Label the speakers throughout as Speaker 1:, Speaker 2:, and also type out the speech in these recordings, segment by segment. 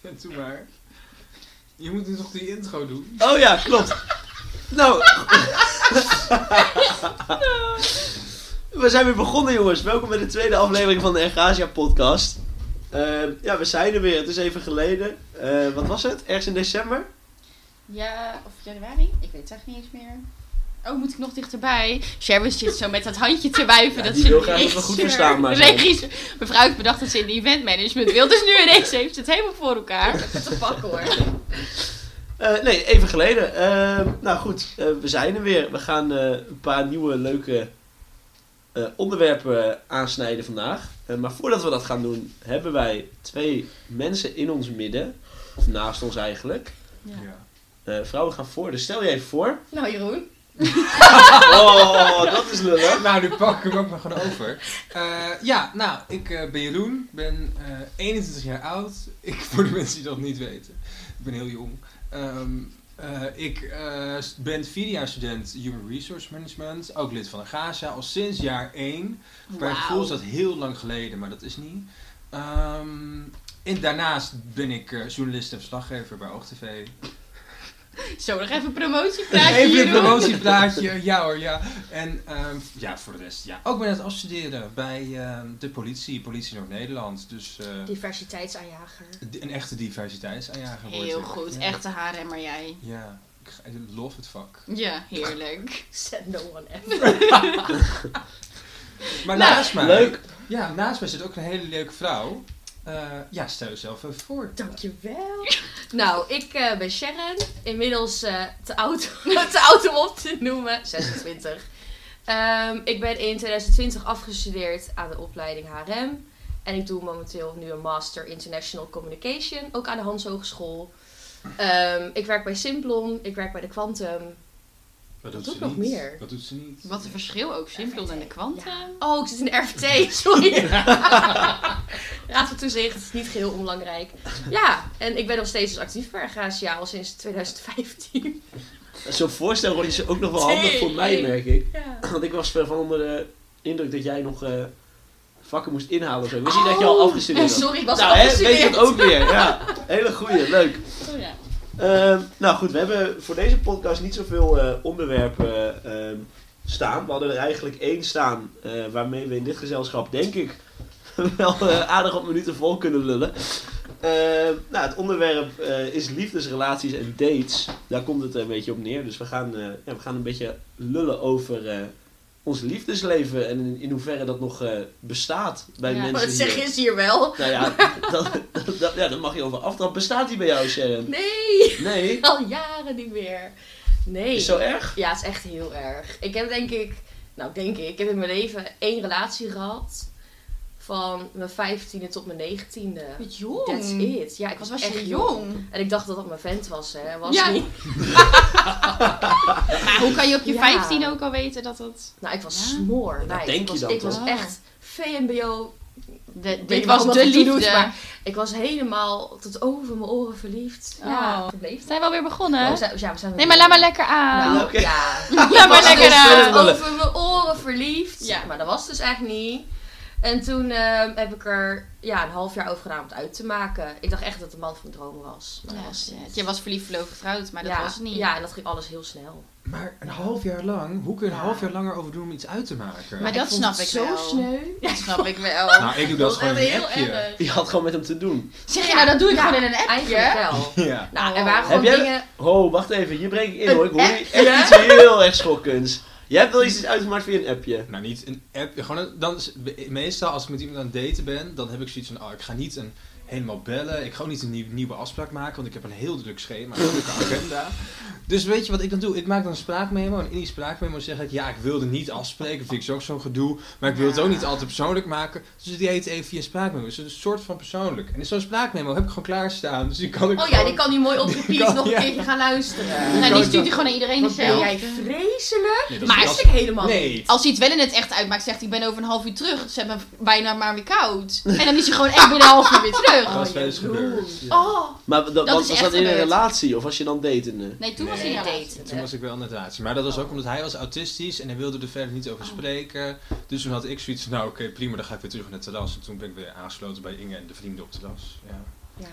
Speaker 1: Ja, doe maar. Je moet nu toch die intro doen?
Speaker 2: Oh ja, klopt. Nou. We zijn weer begonnen, jongens. Welkom bij de tweede aflevering van de Ergasia podcast. Eh, ja, we zijn er weer. Het is even geleden. Eh, wat was het? Ergens in december?
Speaker 3: Ja, of januari? Ik weet het echt niet eens meer. Oh, moet ik nog dichterbij? Sherwin zit zo met dat handje te wuiven.
Speaker 2: Ja,
Speaker 3: dat
Speaker 2: die
Speaker 3: ze
Speaker 2: wil
Speaker 3: de
Speaker 2: graag dat we goed
Speaker 3: regisseur-
Speaker 2: verstaanbaar
Speaker 3: de
Speaker 2: zijn.
Speaker 3: regisseur- Mevrouw heeft bedacht dat ze in de eventmanagement wil. Dus nu ineens heeft ze het helemaal voor elkaar. Wat te pakken hoor.
Speaker 2: Eh, nee, even geleden. Eh, nou goed, eh, we zijn er weer. We gaan eh, een paar nieuwe leuke eh, onderwerpen aansnijden vandaag. Eh, maar voordat we dat gaan doen, hebben wij twee mensen in ons midden. Of naast ons eigenlijk.
Speaker 1: Ja.
Speaker 2: Eh, vrouwen gaan voor, dus stel je even voor.
Speaker 3: Nou Jeroen.
Speaker 2: Oh, dat is lullig.
Speaker 1: Nou, nu pak ik hem ook maar gewoon over. Eh, ja, nou, ik eh, ben Jeroen, ben eh 21 jaar oud. Ik, voor de mensen die dat niet weten, ik ben heel jong. Ehm, eh, ik eh, s- ben vierde jaar student Human Resource Management, ook lid van Agasia, al sinds jaar 1. Bij
Speaker 3: Wauw.
Speaker 1: gevoel is dat heel lang geleden, maar dat is niet. Ehm, en daarnaast ben ik eh, journalist en verslaggever bij OogTV.
Speaker 3: Zo, nog even een promotiepraatje
Speaker 1: Even een
Speaker 3: Jeroen.
Speaker 1: promotieplaatje, ja hoor, ja. En ehm, ja, voor de rest, ja. Ook ben aan het afstuderen bij ehm, de politie, Politie Noord-Nederland. Dus eh,
Speaker 4: Diversiteitsaanjager.
Speaker 1: di- een echte diversiteitsaanjager wordt
Speaker 3: Heel
Speaker 1: het.
Speaker 3: goed.
Speaker 1: Ja.
Speaker 3: Echte haren, maar jij.
Speaker 1: Ja, ik ga- ik love het vak.
Speaker 3: Ja, heerlijk.
Speaker 4: Send no one ever.
Speaker 1: Maar
Speaker 3: Nou,
Speaker 1: naast mij...
Speaker 2: Leuk.
Speaker 1: Ja, naast mij zit ook een hele leuke vrouw. Eh, ja, stel jezelf even voor.
Speaker 4: Dankjewel. Nou, ik eh, ben Sharon. Inmiddels eh, te, oud, te oud om op te noemen. 26. Ehm, ik ben in 2020 afgestudeerd aan de opleiding HRM. En ik doe momenteel nu een Master International Communication, ook aan de Hans Hogeschool. Ehm, ik werk bij Simplon, ik werk bij de Quantum.
Speaker 1: Wat
Speaker 4: doet ze nog niet? meer?
Speaker 1: Wat doet ze niet?
Speaker 3: Wat een verschil ook. Simpel en de kwanten.
Speaker 4: Oh, ik zit in de RVT, sorry. Raad van Toezicht, niet geheel onbelangrijk. Ja, en ik ben nog steeds dus actief bij Ergasia al sinds 2015.
Speaker 2: Zo'n voorstel is ook nog wel handig voor mij, merk ik. Want ik was eh, van onder de indruk dat jij nog eh, vakken moest inhalen of zo. Wist je dat je al
Speaker 4: Oh,
Speaker 2: afgestudeerd was?
Speaker 4: Sorry, ik was
Speaker 2: nou, hè, weet je
Speaker 4: afgestudeerd.
Speaker 2: het ook weer. Ja, hele goeie, leuk.
Speaker 3: Oh ja.
Speaker 2: Ehm, nou goed, we hebben voor deze podcast niet zoveel eh, onderwerpen ehm, staan. We hadden er eigenlijk één staan eh, waarmee we in dit gezelschap, denk ik, wel eh, aardig op minuten vol kunnen lullen. Ehm, nou, het onderwerp eh, is liefdesrelaties en dates. Daar komt het een beetje op neer. Dus we gaan, eh, ja, we gaan een beetje lullen over eh, ons liefdesleven en in, in hoeverre dat nog eh, bestaat bij
Speaker 3: Ja.
Speaker 2: mensen.
Speaker 4: Maar het zeg
Speaker 2: hier.
Speaker 4: is hier wel.
Speaker 2: Nou ja, dat, dat, dat- ja, dat mag je over aftrap. Bestaat die bij jou, Sharon?
Speaker 4: Nee,
Speaker 2: Nee.
Speaker 4: al jaren niet meer. Nee.
Speaker 2: Is zo erg?
Speaker 4: Ja, het is echt heel erg. Ik heb denk ik, nou denk ik, ik heb in mijn leven één relatie gehad. Van mijn 15e tot mijn 19e.
Speaker 3: Wat jong.
Speaker 4: That's it. Ja, ik
Speaker 3: Wat
Speaker 4: was,
Speaker 3: was
Speaker 4: echt
Speaker 3: je jong?
Speaker 4: En ik dacht dat dat mijn vent was, hè. Was
Speaker 3: Ja.
Speaker 4: niet.
Speaker 3: Maar hoe kan je op je
Speaker 4: Ja.
Speaker 3: 15 ook al weten dat dat...
Speaker 4: Nou, ik was
Speaker 3: Ja?
Speaker 4: smoor.
Speaker 2: Dat
Speaker 4: wijs.
Speaker 2: denk
Speaker 4: ik
Speaker 2: je
Speaker 4: was,
Speaker 2: dan
Speaker 4: ik
Speaker 2: toch?
Speaker 4: was echt VMBO.
Speaker 3: De,
Speaker 4: Weet
Speaker 3: dit
Speaker 4: je
Speaker 3: was
Speaker 4: wel
Speaker 3: de
Speaker 4: wat het
Speaker 3: liefde.
Speaker 4: toen doet, maar ik was helemaal tot over mijn oren verliefd. Ja,
Speaker 3: Oh.
Speaker 4: verbleef.
Speaker 3: Zijn we alweer begonnen?
Speaker 4: Oh, zijn- ja, we zijn
Speaker 3: Nee, maar laat maar lekker aan.
Speaker 4: Nou,
Speaker 2: Oké.
Speaker 4: ja.
Speaker 3: laat maar
Speaker 4: was
Speaker 3: lekker
Speaker 4: dus
Speaker 3: aan.
Speaker 2: verder-
Speaker 4: tot over mijn oren verliefd.
Speaker 3: Ja.
Speaker 4: Maar dat was dus eigenlijk niet. En toen ehm, heb ik er ja, een half jaar over gedaan om het uit te maken. Ik dacht echt dat de man van mijn dromen was. Maar dat
Speaker 3: Ja,
Speaker 4: was het niet.
Speaker 3: shit. je was verliefd, verloofd, getrouwd, maar dat
Speaker 4: ja,
Speaker 3: was het niet.
Speaker 4: Ja, en dat ging alles heel snel.
Speaker 1: Maar een half jaar lang, hoe kun je een
Speaker 4: Ja.
Speaker 1: half jaar langer over doen om iets uit te maken?
Speaker 3: Maar dat
Speaker 4: vond
Speaker 3: snap
Speaker 4: het
Speaker 3: ik
Speaker 4: zo
Speaker 3: wel.
Speaker 4: sneu.
Speaker 3: Dat snap ik wel.
Speaker 1: Nou, ik doe dat gewoon in een appje.
Speaker 2: Je had gewoon met hem te doen.
Speaker 3: Zeg je nou, dat doe ik
Speaker 4: Ja,
Speaker 3: gewoon in een
Speaker 4: Eigenlijk
Speaker 3: appje?
Speaker 4: wel.
Speaker 1: Ja.
Speaker 4: Nou, er
Speaker 3: Oh.
Speaker 4: waren
Speaker 3: Heb
Speaker 4: gewoon
Speaker 2: jij-
Speaker 4: dingen...
Speaker 2: Ho, wacht even. Hier breek ik in
Speaker 4: Een
Speaker 2: hoor. Ik hoor hier
Speaker 4: appje?
Speaker 2: echt iets heel erg schokkends. Jij hebt wel iets uitgemaakt via een appje.
Speaker 1: Nou, niet een app. Gewoon een- dan is, meestal als ik met iemand aan het daten ben, dan heb ik zoiets van, oh, ik ga niet een, helemaal bellen. Ik ga ook niet een nieuw- nieuwe afspraak maken, want ik heb een heel druk schema, een drukke agenda. Dus weet je wat ik dan doe? Ik maak dan een spraakmemo en in die spraakmemo zeg ik, ja, ik wilde niet afspreken, vind ik zo ook zo'n gedoe. Maar ik wil het ook niet altijd persoonlijk maken. Dus die heet even via spraakmemo. Dus het is een soort van persoonlijk. En zo'n spraakmemo heb ik gewoon klaarstaan, dus die kan ik
Speaker 4: Oh ja,
Speaker 1: gewoon-
Speaker 4: die kan nu mooi op repeat
Speaker 1: kan-
Speaker 4: nog een
Speaker 1: ja.
Speaker 4: keertje gaan luisteren.
Speaker 3: Nou, die
Speaker 1: Wat
Speaker 3: stuurt hij gewoon naar iedereen
Speaker 4: Wat ben
Speaker 3: dezelfde.
Speaker 4: jij vreselijk?
Speaker 1: Nee, dat is
Speaker 4: Maar
Speaker 3: Maar-
Speaker 1: niet
Speaker 4: wist ik helemaal niet.
Speaker 1: Nee.
Speaker 3: Als hij het wel in het echt uitmaakt, zegt hij, ik ben over een half uur terug. Ze hebben bijna maar weer koud. En dan is hij gewoon echt binnen een half uur weer terug. jeugd.
Speaker 1: Dat is wel eens
Speaker 4: Jeroen.
Speaker 1: gebeurd. Ja.
Speaker 4: Oh,
Speaker 2: Maar dat,
Speaker 3: Dat
Speaker 2: was-
Speaker 3: is
Speaker 2: was
Speaker 3: echt
Speaker 2: dat in een
Speaker 3: gebeurd.
Speaker 2: relatie of was je dan datende?
Speaker 3: Nee, toen was hij
Speaker 1: Nee,
Speaker 3: in
Speaker 4: daten.
Speaker 3: relatie.
Speaker 1: Toen was ik wel in het relatie. Maar dat was ook omdat hij was autistisch en hij wilde er verder niet over
Speaker 3: Oh.
Speaker 1: spreken. Dus toen had ik zoiets nou oké, prima, dan ga ik weer terug naar het terras. En toen ben ik weer aangesloten bij Inge en de vrienden op het terras. Ja.
Speaker 4: ja.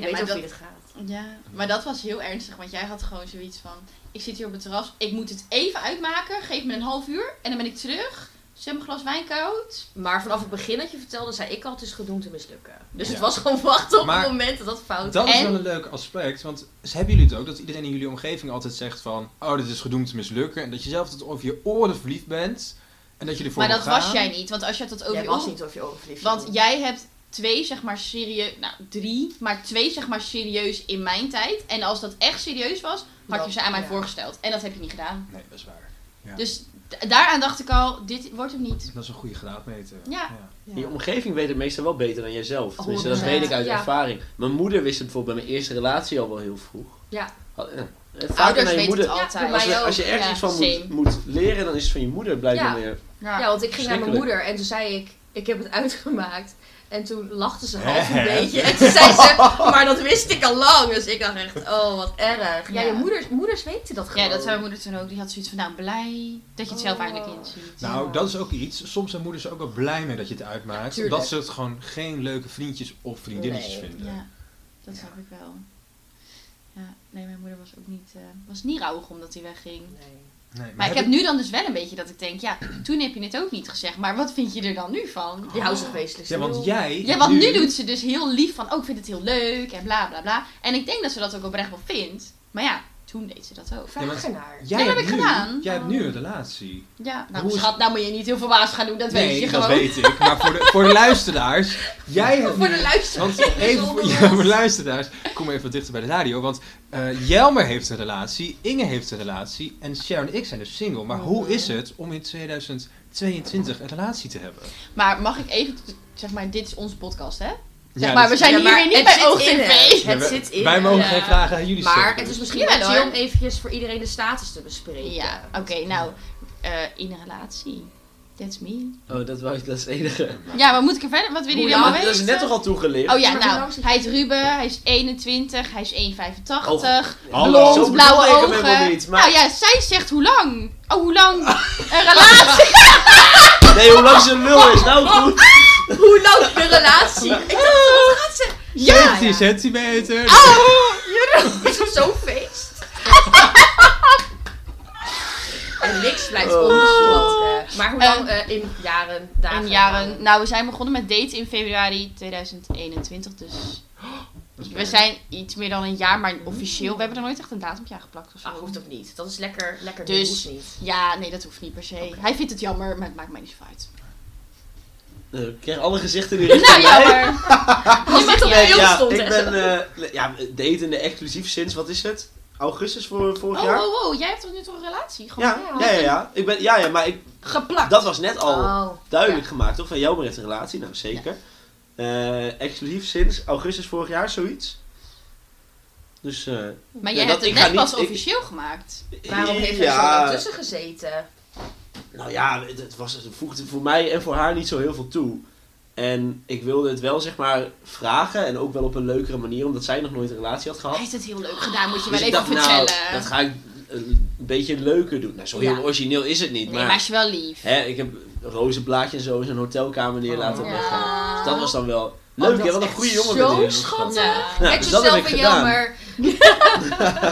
Speaker 3: Ja, maar
Speaker 4: weet over
Speaker 3: dat-
Speaker 4: wie het gaat.
Speaker 3: Ja, maar dat was heel ernstig, want jij had gewoon zoiets van: ik zit hier op het terras, ik moet het even uitmaken, geef me een half uur en dan ben ik terug. Zet mijn glas wijn koud.
Speaker 4: Maar vanaf het begin dat je vertelde, zei ik al, het is gedoemd te mislukken. Dus
Speaker 1: Ja.
Speaker 4: het was gewoon wachten op
Speaker 1: Maar-
Speaker 4: het moment dat dat fout
Speaker 1: Dat is
Speaker 3: Oh, En-
Speaker 1: wel een leuk aspect, want s- hebben jullie het ook dat iedereen in jullie omgeving altijd zegt van, oh dit is gedoemd te mislukken. En dat je zelf tot over je oren verliefd bent en dat je ervoor
Speaker 3: maar
Speaker 1: wil
Speaker 3: dat
Speaker 1: gaan.
Speaker 3: was jij niet, want als je dat over
Speaker 4: Jij
Speaker 3: je
Speaker 4: was
Speaker 3: oren-
Speaker 4: niet of je overliefd
Speaker 3: Want jij hebt twee, zeg maar serieus, nou drie, maar twee, zeg maar serieus in mijn tijd. En als dat echt serieus was, had
Speaker 4: Dat-
Speaker 3: je ze aan mij
Speaker 4: ja.
Speaker 3: voorgesteld. En dat heb je niet gedaan.
Speaker 1: Nee, dat is waar. Ja.
Speaker 3: Dus d- daaraan dacht ik al: dit wordt hem niet.
Speaker 1: Dat is een goede graadmeter.
Speaker 3: Ja.
Speaker 2: Je omgeving weet het meestal wel beter dan jijzelf. Tenminste, dat
Speaker 4: 100%.
Speaker 2: weet ik uit
Speaker 4: Ja.
Speaker 2: ervaring. Mijn moeder wist het bijvoorbeeld bij mijn eerste relatie al wel heel vroeg.
Speaker 4: Ja.
Speaker 2: Had- eh, Vaker naar
Speaker 3: Ouders
Speaker 2: je
Speaker 3: weten
Speaker 2: moeder.
Speaker 3: het altijd.
Speaker 4: Ja, bij
Speaker 2: Als,
Speaker 4: mij
Speaker 2: je-
Speaker 4: ook.
Speaker 2: als je ergens
Speaker 3: Ja,
Speaker 2: iets van moet,
Speaker 3: same.
Speaker 2: moet leren, dan is het van je moeder blijkbaar
Speaker 4: Ja.
Speaker 2: meer.
Speaker 3: Ja.
Speaker 4: Ja, want ik ging naar mijn
Speaker 2: Schrikkelijk.
Speaker 4: moeder en toen zei ik, ik heb het uitgemaakt. En toen lachte ze half
Speaker 1: Hè?
Speaker 4: een beetje. En toen zei ze, maar dat wist ik al lang. Dus ik dacht echt, oh wat erg.
Speaker 3: Ja.
Speaker 4: Ja, je moeders, moeders weten dat gewoon.
Speaker 3: Ja, dat zei mijn moeder toen ook. Die had zoiets van, nou, blij dat je het zelf eigenlijk inziet.
Speaker 1: Nou,
Speaker 4: Ja.
Speaker 1: dat is ook iets. Soms zijn moeders er ook wel blij mee dat je het uitmaakt.
Speaker 4: Tuurlijk.
Speaker 1: Omdat ze het gewoon geen leuke vriendjes of vriendinnetjes
Speaker 4: Nee.
Speaker 1: vinden.
Speaker 3: Ja, dat snap ik wel. Ja, nee, mijn moeder was ook niet, eh, was niet rouwig omdat hij wegging. Maar,
Speaker 4: Nee.
Speaker 1: Nee, maar,
Speaker 3: ik heb nu dan dus wel een beetje dat ik denk, ja, toen heb je het ook niet gezegd. Maar wat vind je er dan nu van?
Speaker 4: Die houdt zich wezenlijk
Speaker 1: Ja, want
Speaker 4: stil.
Speaker 1: jij...
Speaker 3: Ja, want nu doet ze dus heel lief van, oh, ik vind het heel leuk en bla bla bla. En ik denk dat ze dat ook oprecht wel vindt. Maar ja, toen deed ze dat ook.
Speaker 4: Vraag
Speaker 1: Ja, want-
Speaker 4: ernaar.
Speaker 1: Jij
Speaker 3: Ja, dat
Speaker 1: hebt
Speaker 3: heb ik
Speaker 1: nu,
Speaker 3: gedaan.
Speaker 1: Jij hebt
Speaker 4: Oh.
Speaker 1: nu een relatie.
Speaker 3: Ja,
Speaker 1: Hoe
Speaker 3: nou
Speaker 1: is-
Speaker 3: schat, nou moet je niet heel verbaasd gaan doen, dat weet je gewoon.
Speaker 1: dat weet ik. Maar voor de, voor de luisteraars... Jij hebt
Speaker 3: Voor
Speaker 1: nu-
Speaker 3: de luisteraar.
Speaker 1: Want even voor,
Speaker 4: Zonder
Speaker 1: ja,
Speaker 4: wat.
Speaker 1: voor de luisteraars, kom even wat dichter bij de radio. Want eh, Jelmer heeft een relatie, Inge heeft een relatie en Sharon en ik zijn dus single. Maar hoe is
Speaker 3: Oh.
Speaker 1: het om in 2022 een relatie te hebben?
Speaker 3: Maar mag ik even, zeg maar, dit is onze podcast, hè?
Speaker 1: Ja,
Speaker 3: Zeg maar,
Speaker 1: dat-
Speaker 3: we zijn
Speaker 4: Ja,
Speaker 3: hier
Speaker 4: maar
Speaker 3: weer niet
Speaker 4: het
Speaker 3: bij
Speaker 4: zit in
Speaker 3: OogTV.
Speaker 4: het. Het
Speaker 1: Ja, we-
Speaker 4: zit in
Speaker 1: Wij
Speaker 4: het.
Speaker 1: mogen
Speaker 3: Ja.
Speaker 1: geen vragen aan jullie
Speaker 4: Maar
Speaker 1: stellen.
Speaker 4: het is
Speaker 1: Dus-
Speaker 4: misschien
Speaker 3: Jawel,
Speaker 4: wel chill om
Speaker 3: hoor.
Speaker 4: eventjes voor iedereen de status te bespreken.
Speaker 3: Ja, oké, nou, eh, in een relatie. That's me.
Speaker 2: Oh, dat, wou ik, dat is het enige.
Speaker 3: Ja, wat moet ik er verder? Wat willen jullie
Speaker 4: Ja,
Speaker 2: Maar
Speaker 3: allemaal
Speaker 4: maar
Speaker 2: dat is
Speaker 3: weten?
Speaker 2: net toch al toegelicht?
Speaker 3: Oh ja,
Speaker 4: Maar hoe lang
Speaker 3: nou,
Speaker 4: is die-
Speaker 3: hij is Ruben, hij is 21, hij is 1,85,
Speaker 2: Oh,
Speaker 1: Hallo.
Speaker 3: blond,
Speaker 1: Zo bedoel
Speaker 3: blauwe
Speaker 2: ik hem helemaal
Speaker 3: ogen.
Speaker 2: niet, maar-
Speaker 3: Nou ja, zij zegt hoe lang? Oh, hoe lang een relatie?
Speaker 2: Nee, hoe lang ze lul is. Nou goed.
Speaker 4: Hoe loopt de relatie? ik dacht, wat gaat ze?
Speaker 1: 17
Speaker 4: ja.
Speaker 1: centimeter!
Speaker 3: Ah!
Speaker 4: Is het zo'n feest? en niks blijft
Speaker 2: Oh.
Speaker 4: onbesproken. Maar hoe lang?
Speaker 3: Eh,
Speaker 4: eh, in jaren, dagen.
Speaker 3: In jaren, nou, we zijn begonnen met daten in februari 2021, dus we zijn iets meer dan een jaar, maar officieel, we hebben er nooit echt een datumpje aan geplakt of zo.
Speaker 4: Ah, hoeft ook niet. Dat is lekker, lekker
Speaker 3: Dus-
Speaker 4: nieuws niet.
Speaker 3: Ja, nee, dat hoeft niet per se. Hij vindt het jammer, maar het maakt mij niet zoveel uit.
Speaker 2: Eh, Ik krijg alle gezichten nu richting
Speaker 3: Nou,
Speaker 2: mij.
Speaker 3: jammer.
Speaker 4: Als dit op
Speaker 2: Nee,
Speaker 4: beeld
Speaker 2: ja,
Speaker 4: stond,
Speaker 2: ik
Speaker 4: hè.
Speaker 2: ben eh, ja, datende exclusief sinds, wat is het? Augustus voor, vorig
Speaker 3: Oh,
Speaker 2: jaar?
Speaker 3: oh, oh, jij hebt toch nu toch een relatie? Gewoon
Speaker 2: Ja, ja, ja, ja. Ik ben, ja, ja, maar ik,
Speaker 4: geplakt.
Speaker 2: dat was net al
Speaker 4: Oh.
Speaker 2: duidelijk gemaakt, toch? Van jou heeft een relatie, nou zeker. Eh, exclusief sinds augustus vorig jaar, zoiets. Dus, eh
Speaker 3: Maar
Speaker 2: Ja, dat-
Speaker 3: jij hebt het
Speaker 2: ik
Speaker 3: net
Speaker 2: ga niet-
Speaker 3: pas
Speaker 2: ik-
Speaker 3: officieel gemaakt.
Speaker 4: Waarom heeft hij
Speaker 2: ja,
Speaker 4: zo lang tussen gezeten?
Speaker 2: Nou ja, het, het was, het voegde voor mij en voor haar niet zo heel veel toe. En ik wilde het wel, zeg maar, vragen en ook wel op een leukere manier, omdat zij nog nooit een relatie had gehad.
Speaker 3: Hij heeft het heel leuk gedaan, moet je
Speaker 2: Dus
Speaker 3: wel
Speaker 2: ik
Speaker 3: even
Speaker 2: dacht, nou,
Speaker 3: vertellen.
Speaker 2: dat ga ik eh, een beetje leuker doen. Nou, zo heel
Speaker 4: Ja.
Speaker 2: origineel is het niet,
Speaker 3: Nee,
Speaker 2: maar...
Speaker 3: maar is wel lief.
Speaker 2: Hè, ik heb rozenblaadje en zo in zijn hotelkamer neer laten
Speaker 1: Oh.
Speaker 2: leggen.
Speaker 4: Ja. Oh,
Speaker 2: Dus dat was dan wel leuk.
Speaker 4: dat
Speaker 2: hè?
Speaker 4: is
Speaker 2: wat een
Speaker 4: echt
Speaker 2: goede jongen
Speaker 4: zo
Speaker 2: ben je.
Speaker 4: schattig.
Speaker 3: Ja.
Speaker 2: Nou,
Speaker 4: Met
Speaker 2: dus dat heb ik
Speaker 4: jezelf en
Speaker 2: gedaan.
Speaker 4: jammer.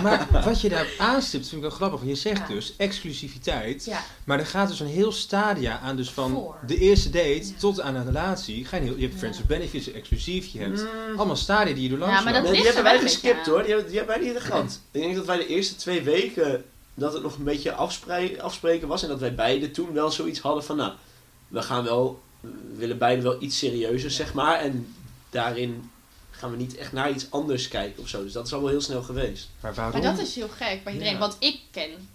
Speaker 1: Maar wat je daar aanstipt vind ik wel grappig. Want je zegt
Speaker 4: Ja.
Speaker 1: dus exclusiviteit.
Speaker 4: Ja.
Speaker 1: Maar er gaat dus een heel stadia aan. Dus van
Speaker 4: Voor.
Speaker 1: de eerste date
Speaker 4: Ja.
Speaker 1: tot aan een relatie. Ga je, heel, je hebt friends with benefits, exclusief. Je hebt allemaal stadia die je door
Speaker 3: Mm. Ja,
Speaker 1: langs
Speaker 3: maar
Speaker 1: loopt.
Speaker 3: dat
Speaker 2: Nee, die
Speaker 3: ligt
Speaker 2: hebben wij
Speaker 3: er wel een
Speaker 2: geskipt
Speaker 3: beetje
Speaker 2: hoor. Die hebben, die hebben wij niet gehad. Ik denk dat wij de eerste twee weken dat het nog een beetje afsprei- afspreken was. En dat wij beide toen wel zoiets hadden van, nou, we gaan wel, we willen beide wel iets serieuzer, zeg maar. En daarin gaan we niet echt naar iets anders kijken of zo. Dus dat is al wel heel snel geweest.
Speaker 1: Maar waarom?
Speaker 3: Maar dat is heel gek bij iedereen,
Speaker 1: Ja.
Speaker 3: want ik ken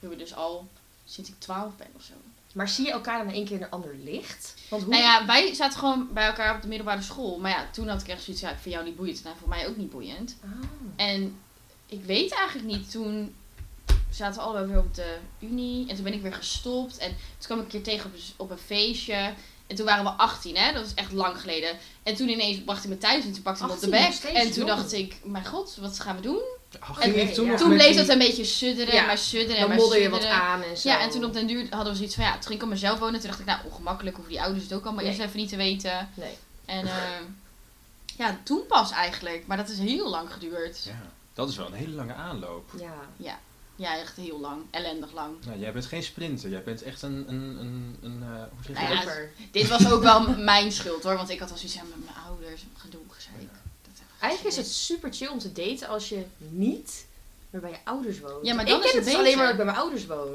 Speaker 3: Ruben dus al sinds ik 12 ben of zo.
Speaker 4: Maar zie je elkaar dan één keer in een ander licht? Want hoe...
Speaker 3: Nou ja, wij zaten gewoon bij elkaar op de middelbare school. Maar ja, toen had ik echt zoiets, ja, ik vind jou niet boeiend. Nou, voor mij ook niet boeiend.
Speaker 4: Ah.
Speaker 3: En ik weet eigenlijk niet, toen zaten we allebei weer op de unie. En toen ben ik weer gestopt. En toen kwam ik een keer tegen op een, op een feestje. En toen waren we 18, hè? Dat is echt lang geleden. En toen ineens bracht hij me thuis en toen pakte hij me op de
Speaker 4: 18,
Speaker 3: bek.
Speaker 4: nog steeds
Speaker 3: En toen
Speaker 4: jong.
Speaker 3: dacht ik, mijn god, wat gaan we doen?
Speaker 1: Ach,
Speaker 4: Oké,
Speaker 1: ging ik toen
Speaker 4: ja.
Speaker 1: nog
Speaker 3: Toen
Speaker 1: met
Speaker 3: bleef
Speaker 1: die-
Speaker 3: dat een beetje sudderen
Speaker 4: Ja,
Speaker 3: en maar sudderen en
Speaker 4: Dan
Speaker 3: maar
Speaker 4: modder je wat
Speaker 3: sudderen.
Speaker 4: aan en zo.
Speaker 3: Ja, en toen op den duur hadden we zoiets van, ja, toen ging ik op mezelf wonen. Toen dacht ik, nou, ongemakkelijk hoeven die ouders het ook allemaal
Speaker 4: Nee.
Speaker 3: eerst even niet te weten.
Speaker 4: Nee.
Speaker 3: En eh, ja, toen pas eigenlijk. Maar dat is heel lang geduurd. Ja,
Speaker 1: Ja, dat is wel een hele lange aanloop.
Speaker 4: Ja.
Speaker 3: echt heel lang. Ellendig lang.
Speaker 1: Nou, jij bent geen sprinter, jij bent echt een, een, een, een eh, hoe zeg je
Speaker 3: Nou ja,
Speaker 1: dat?
Speaker 4: Loper.
Speaker 3: Dit was ook wel m- mijn schuld hoor, want ik had al zoiets aan met mijn ouders. Gedoe, gezeik. Dat heb ik
Speaker 4: Eigenlijk is
Speaker 3: gezien.
Speaker 4: het super chill om te daten als je niet meer bij je ouders woont.
Speaker 3: Ja, maar
Speaker 4: ik
Speaker 3: dan
Speaker 4: ken
Speaker 3: is het
Speaker 4: het dus
Speaker 3: beter.
Speaker 4: alleen maar dat ik bij mijn ouders woon.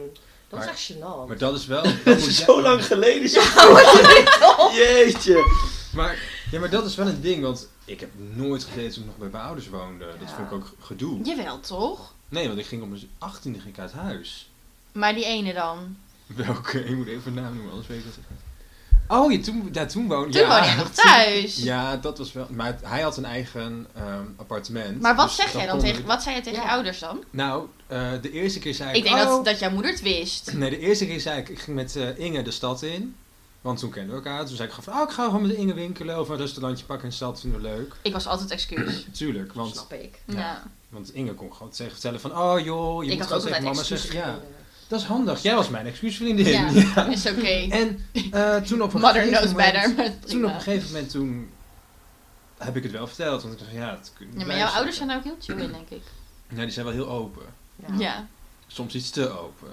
Speaker 4: Dat
Speaker 1: Maar-
Speaker 4: is echt gênant.
Speaker 1: Maar dat is wel... dat
Speaker 2: Dat
Speaker 1: moet
Speaker 2: is
Speaker 1: jij-
Speaker 2: zo lang geleden. zo. Jeetje.
Speaker 1: Maar, ja, maar dat is wel een ding, want ik heb nooit gedate toen ik nog bij mijn ouders woonde. Dat
Speaker 4: Ja.
Speaker 1: vond ik ook gedoe.
Speaker 3: Jawel, toch?
Speaker 1: Nee, want ik ging op mijn 18e ging ik uit huis.
Speaker 3: Maar die ene dan.
Speaker 1: Welke? Ik moet even een naam noemen, anders weet ik dat niet. Oh, ja, toen, ja, toen woonde
Speaker 3: Toen woonde jij nog thuis.
Speaker 1: Ja, dat was wel. Maar het- hij had een eigen ehm, appartement.
Speaker 3: Maar wat
Speaker 1: dus
Speaker 3: zeg jij dan
Speaker 1: kon
Speaker 3: tegen,
Speaker 1: ik-
Speaker 3: wat zei jij tegen
Speaker 4: Ja.
Speaker 3: je ouders dan?
Speaker 1: Nou, eh, de eerste keer zei ik.
Speaker 3: Ik denk
Speaker 1: oh.
Speaker 3: dat, dat jouw moeder het wist.
Speaker 1: Nee, de eerste keer zei ik. Ik ging met eh, Inge de stad in. Want toen kenden we elkaar. Toen zei ik gewoon van, oh, ik ga gewoon met Inge winkelen of een restaurantje pakken in de stad. Vinden we leuk.
Speaker 3: Ik was altijd excuus.
Speaker 1: Tuurlijk, want,
Speaker 4: Snap ik.
Speaker 1: Ja.
Speaker 3: Ja.
Speaker 1: want Inge kon gewoon zeggen, vertellen van, oh joh, je
Speaker 3: Ik
Speaker 1: moet
Speaker 3: had
Speaker 1: gewoon tegen
Speaker 3: ook altijd
Speaker 1: mama
Speaker 3: excuses
Speaker 1: zeggen. Ja, dat is handig. Jij was mijn excuusvriendin.
Speaker 3: Ja.
Speaker 1: Ja.
Speaker 3: Is oké.
Speaker 1: En eh, toen op een
Speaker 3: Mother
Speaker 1: gegeven
Speaker 3: knows
Speaker 1: moment-
Speaker 3: better. Maar prima.
Speaker 1: Toen op een gegeven moment toen heb ik het wel verteld. Want ik dacht, ja, dat kun je niet
Speaker 3: Ja, maar jouw
Speaker 1: bijzetten.
Speaker 3: ouders zijn daar ook heel chill in, denk ik.
Speaker 1: Ja, die zijn wel heel open.
Speaker 4: Ja.
Speaker 3: Ja.
Speaker 1: Soms iets te open.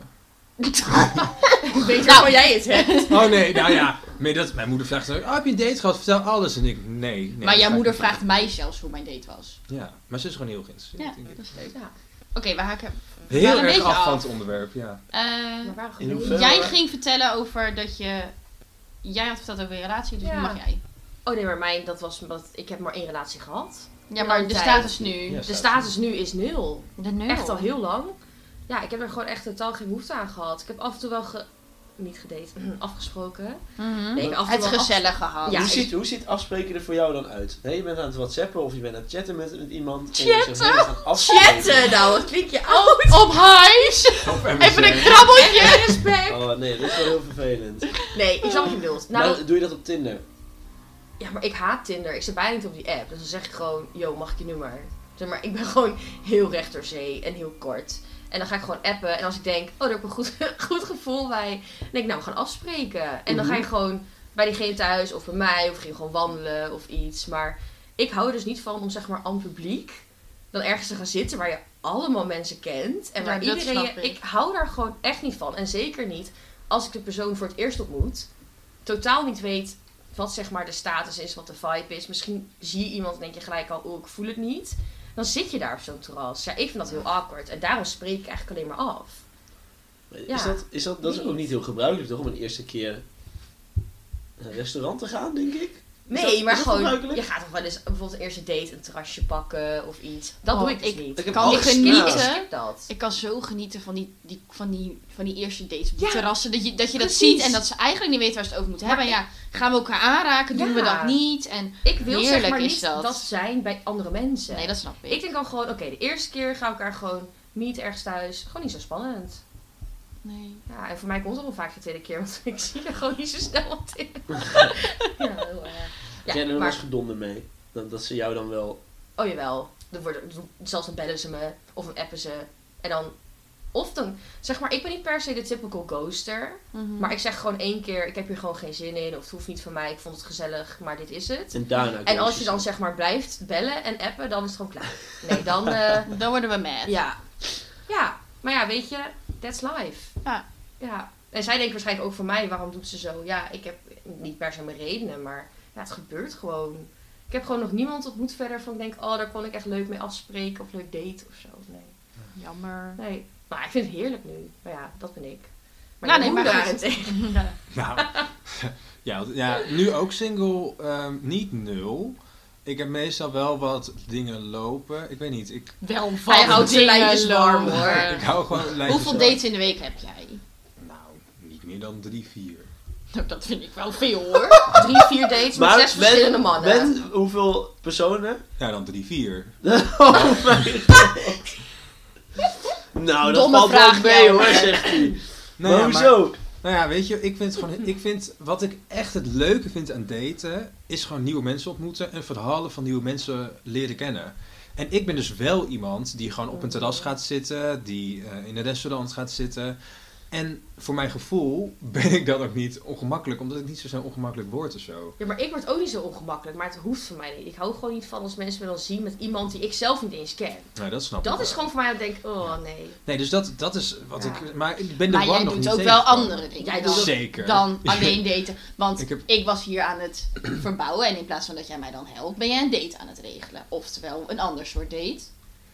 Speaker 4: Beter
Speaker 3: Nou.
Speaker 4: dan jij het hebt.
Speaker 1: Oh nee, nou ja. Maar dat, mijn moeder vraagt dan ook, oh, heb je een date gehad? Vertel alles. En ik, nee. nee
Speaker 3: maar
Speaker 1: dat
Speaker 3: jouw
Speaker 1: ga
Speaker 3: moeder
Speaker 1: ik niet
Speaker 3: vraagt mij zelfs hoe mijn date was.
Speaker 1: doen. Ja, maar ze is gewoon heel geïnteresseerd.
Speaker 3: Ja,
Speaker 1: denk ik.
Speaker 3: dat is leuk.
Speaker 4: Ja.
Speaker 3: Oké, we haken.
Speaker 1: Heel erg
Speaker 3: een beetje
Speaker 1: af, van
Speaker 3: af.
Speaker 1: het onderwerp, ja.
Speaker 3: Eh,
Speaker 4: Maar waarom
Speaker 2: In hoeverre-
Speaker 3: jij ging vertellen over dat je... Jij had verteld over je relatie, dus
Speaker 4: Ja.
Speaker 3: nu mag jij.
Speaker 4: Oh nee, maar mijn, dat was, dat, ik heb maar één relatie gehad.
Speaker 3: Ja, maar de
Speaker 4: Altijd.
Speaker 3: status nu.
Speaker 1: Ja.
Speaker 4: De status nu is nul.
Speaker 3: De nul.
Speaker 4: Echt al heel lang. Ja, ik heb er gewoon echt totaal geen behoefte aan gehad. Ik heb af en toe wel ge... niet gedate, afgesproken.
Speaker 3: Mhm.
Speaker 4: Nee, af en
Speaker 3: Het
Speaker 4: toe wel
Speaker 3: gezellig gehad.
Speaker 4: Ja,
Speaker 2: hoe,
Speaker 4: ik-
Speaker 2: ziet, hoe ziet afspreken er voor jou dan uit? Hè, je bent aan het whatsappen of je bent aan het chatten met, met iemand.
Speaker 3: Chatten?
Speaker 2: Chatten!
Speaker 4: nou, wat klink je oud?
Speaker 3: Op highs! Even een krabbeltje!
Speaker 4: Geen respect.
Speaker 2: Oh nee, dat is wel heel vervelend.
Speaker 4: Nee, ik snap wat je bedoelt. Nou,
Speaker 2: Maar doe je dat op Tinder?
Speaker 4: ja, maar ik haat Tinder. Ik zit bijna niet op die app. Dus dan zeg ik gewoon, yo, mag ik je nummer? Zeg maar, ik ben gewoon heel recht door zee en heel kort. En dan ga ik gewoon appen. En als ik denk, oh, daar heb ik een goed, goed gevoel bij. Dan denk ik, nou, we gaan afspreken. En dan ga je gewoon bij diegene thuis of bij mij. Of ging gewoon wandelen of iets. Maar ik hou er dus niet van om, zeg maar, aan publiek dan ergens te gaan zitten waar je allemaal mensen kent. En
Speaker 3: Ja,
Speaker 4: waar
Speaker 3: dat
Speaker 4: iedereen...
Speaker 3: snap
Speaker 4: je-
Speaker 3: ik.
Speaker 4: ik hou daar gewoon echt niet van. En zeker niet als ik de persoon voor het eerst ontmoet. Totaal niet weet wat zeg maar de status is, wat de vibe is. Misschien zie je iemand en denk je gelijk al, oh, ik voel het niet. Dan zit je daar op zo'n terras. Ja, ik vind dat heel awkward. En daarom spreek ik eigenlijk alleen maar af.
Speaker 2: Is
Speaker 4: Ja,
Speaker 2: dat, is dat, dat is ook
Speaker 4: niet.
Speaker 2: niet heel gebruikelijk toch, om een eerste keer naar een restaurant te gaan, denk ik? Is
Speaker 4: Nee,
Speaker 2: dat-
Speaker 4: maar
Speaker 2: is dat
Speaker 4: gewoon,
Speaker 2: gebruikelijk?
Speaker 4: je gaat toch wel eens bijvoorbeeld een eerste date een terrasje pakken of iets. Dat
Speaker 3: Oh,
Speaker 4: doe ik dus
Speaker 3: ik-
Speaker 4: niet.
Speaker 2: Ik heb
Speaker 3: Kan
Speaker 2: al
Speaker 3: ik
Speaker 2: gesnapt.
Speaker 4: Ik
Speaker 3: genieten?
Speaker 4: skip dat.
Speaker 3: Ik kan zo genieten van die, die, van die, van die eerste dates op die
Speaker 4: Ja,
Speaker 3: terrassen. Dat je dat, je dat
Speaker 4: precies.
Speaker 3: ziet en dat ze eigenlijk niet weten waar ze het over moeten
Speaker 4: Maar
Speaker 3: hebben. En ja, gaan we elkaar aanraken? Doen
Speaker 4: Ja.
Speaker 3: we dat niet? En
Speaker 4: Ik wil zeg
Speaker 3: Heerlijk
Speaker 4: maar
Speaker 3: is
Speaker 4: niet
Speaker 3: dat.
Speaker 4: dat. zijn bij andere mensen.
Speaker 3: nee, dat snap ik.
Speaker 4: Ik denk dan gewoon, oké, de eerste keer gaan we elkaar gewoon niet ergens thuis. Gewoon niet zo spannend.
Speaker 3: nee.
Speaker 4: Ja, en voor mij komt het wel vaak de tweede keer, want ik zie er gewoon niet zo snel wat in. ja, heel erg. Ja,
Speaker 2: Jij er wel eens
Speaker 4: maar,
Speaker 2: gedonden mee? Dat, dat ze jou dan wel...
Speaker 4: oh jawel, er worden, zelfs dan bellen ze me, of dan appen ze. En dan, of dan, zeg maar, ik ben niet per se de typical ghoster.
Speaker 3: Mhm.
Speaker 4: Maar ik zeg gewoon één keer, ik heb hier gewoon geen zin in, of het hoeft niet van mij, ik vond het gezellig, maar dit is het.
Speaker 2: En daarna...
Speaker 4: En als je dan zeg maar blijft bellen en appen, dan is het gewoon klaar. Nee, dan, eh,
Speaker 3: Dan worden we mad.
Speaker 4: Ja. Ja. Maar ja, weet je, that's life.
Speaker 3: Ja.
Speaker 4: Ja. En zij denkt waarschijnlijk ook van mij, waarom doet ze zo? Ja, ik heb niet per se mijn redenen, maar ja, het gebeurt gewoon. Ik heb gewoon nog niemand ontmoet verder van ik denk, oh, daar kon ik echt leuk mee afspreken of leuk date of zo. Nee.
Speaker 3: Jammer.
Speaker 4: Nee. Maar ik vind het heerlijk nu. Maar ja, dat ben ik. Maar
Speaker 3: Nou,
Speaker 4: je
Speaker 3: nee, maar
Speaker 4: moeder
Speaker 3: goed.
Speaker 4: daarentegen.
Speaker 1: Nou, ja, want- ja, nu ook single, ehm, niet nul. Ik heb meestal wel wat dingen lopen. Ik weet niet, ik,
Speaker 3: Wel van
Speaker 4: Hij houdt zijn
Speaker 3: dingen
Speaker 4: lijntjes warm,
Speaker 3: lopen.
Speaker 4: hoor.
Speaker 1: ik hou gewoon lijntjes
Speaker 3: Hoeveel
Speaker 1: wel-
Speaker 3: dates in de week heb jij?
Speaker 1: Nou, niet meer dan drie, vier.
Speaker 3: Nou, dat vind ik wel veel hoor.
Speaker 4: Drie, vier dates met zes verschillende mannen.
Speaker 2: Met hoeveel personen?
Speaker 1: Ja, dan drie, vier.
Speaker 2: oh mijn god. Nou, dat
Speaker 3: Domme
Speaker 2: valt Nou,
Speaker 3: vraag,
Speaker 2: wel mee
Speaker 3: jou.
Speaker 2: hoor, zegt hij.
Speaker 1: Nou
Speaker 2: maar
Speaker 1: ja, maar-
Speaker 2: hoezo?
Speaker 1: Nou ja, weet je, ik vind, gewoon, ik vind wat ik echt het leuke vind aan daten, is gewoon nieuwe mensen ontmoeten en verhalen van nieuwe mensen leren kennen. En ik ben dus wel iemand die gewoon op een terras gaat zitten, die eh, in een restaurant gaat zitten. En voor mijn gevoel ben ik dan ook niet ongemakkelijk, omdat ik niet zo snel ongemakkelijk word of zo.
Speaker 4: Ja, maar ik word ook niet zo ongemakkelijk, maar het hoeft van mij niet. Ik hou gewoon niet van als mensen me dan zien met iemand die ik zelf niet eens ken.
Speaker 1: Nou, dat snap ik.
Speaker 4: Dat
Speaker 1: wel.
Speaker 4: is gewoon voor mij dat ik denk, oh nee.
Speaker 1: Nee, dus dat, dat is wat
Speaker 4: Ja.
Speaker 1: ik. Maar ik ben de
Speaker 3: Maar
Speaker 1: war
Speaker 3: jij
Speaker 1: nog niet
Speaker 3: doet ook wel
Speaker 1: tegengekomen.
Speaker 3: andere dingen
Speaker 4: Jij
Speaker 3: dan,
Speaker 4: doet ook-
Speaker 1: Zeker.
Speaker 3: dan alleen daten. Want
Speaker 1: Ik
Speaker 3: ik,
Speaker 1: heb-
Speaker 3: was hier aan het verbouwen en in plaats van dat jij mij dan helpt, ben jij een date aan het regelen. Oftewel een ander soort date.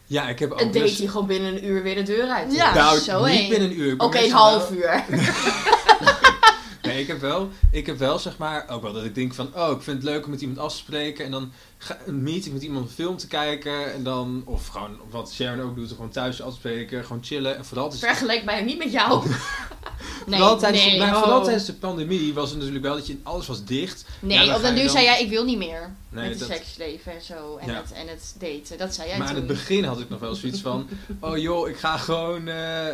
Speaker 1: Ja, ik heb ook. dus
Speaker 4: Een date
Speaker 1: best-
Speaker 4: die gewoon binnen een uur weer de deur uit is.
Speaker 3: Ja.
Speaker 1: nou,
Speaker 3: zo
Speaker 1: niet
Speaker 3: heen.
Speaker 1: binnen een uur. ik
Speaker 3: Oké,
Speaker 1: ben
Speaker 3: een
Speaker 1: meestal wel-
Speaker 3: half uur.
Speaker 1: Nee, ik heb wel, ik heb wel zeg maar, ook wel dat ik denk van, oh, ik vind het leuk om met iemand af te spreken. En dan ga, een meeting met iemand een film te kijken. En dan, of gewoon wat Sharon ook doet, gewoon thuis afspreken, gewoon chillen. En vooral, dus,
Speaker 4: Vergelijk mij niet met jou.
Speaker 3: Nee,
Speaker 1: vooral, tijdens,
Speaker 3: nee,
Speaker 1: maar
Speaker 3: oh.
Speaker 1: vooral tijdens de pandemie was het natuurlijk wel dat je, alles was dicht.
Speaker 3: Nee,
Speaker 1: Ja, dan
Speaker 3: op
Speaker 1: ga
Speaker 3: den
Speaker 1: je
Speaker 3: duur
Speaker 1: dan-
Speaker 3: zei jij, ik wil niet meer
Speaker 1: Nee,
Speaker 3: met het
Speaker 1: dat-
Speaker 3: seksleven en zo. En,
Speaker 1: Ja.
Speaker 3: het, en het daten, dat zei jij
Speaker 1: maar aan
Speaker 3: toen.
Speaker 1: het begin had ik nog wel zoiets van, oh joh, ik ga gewoon eh,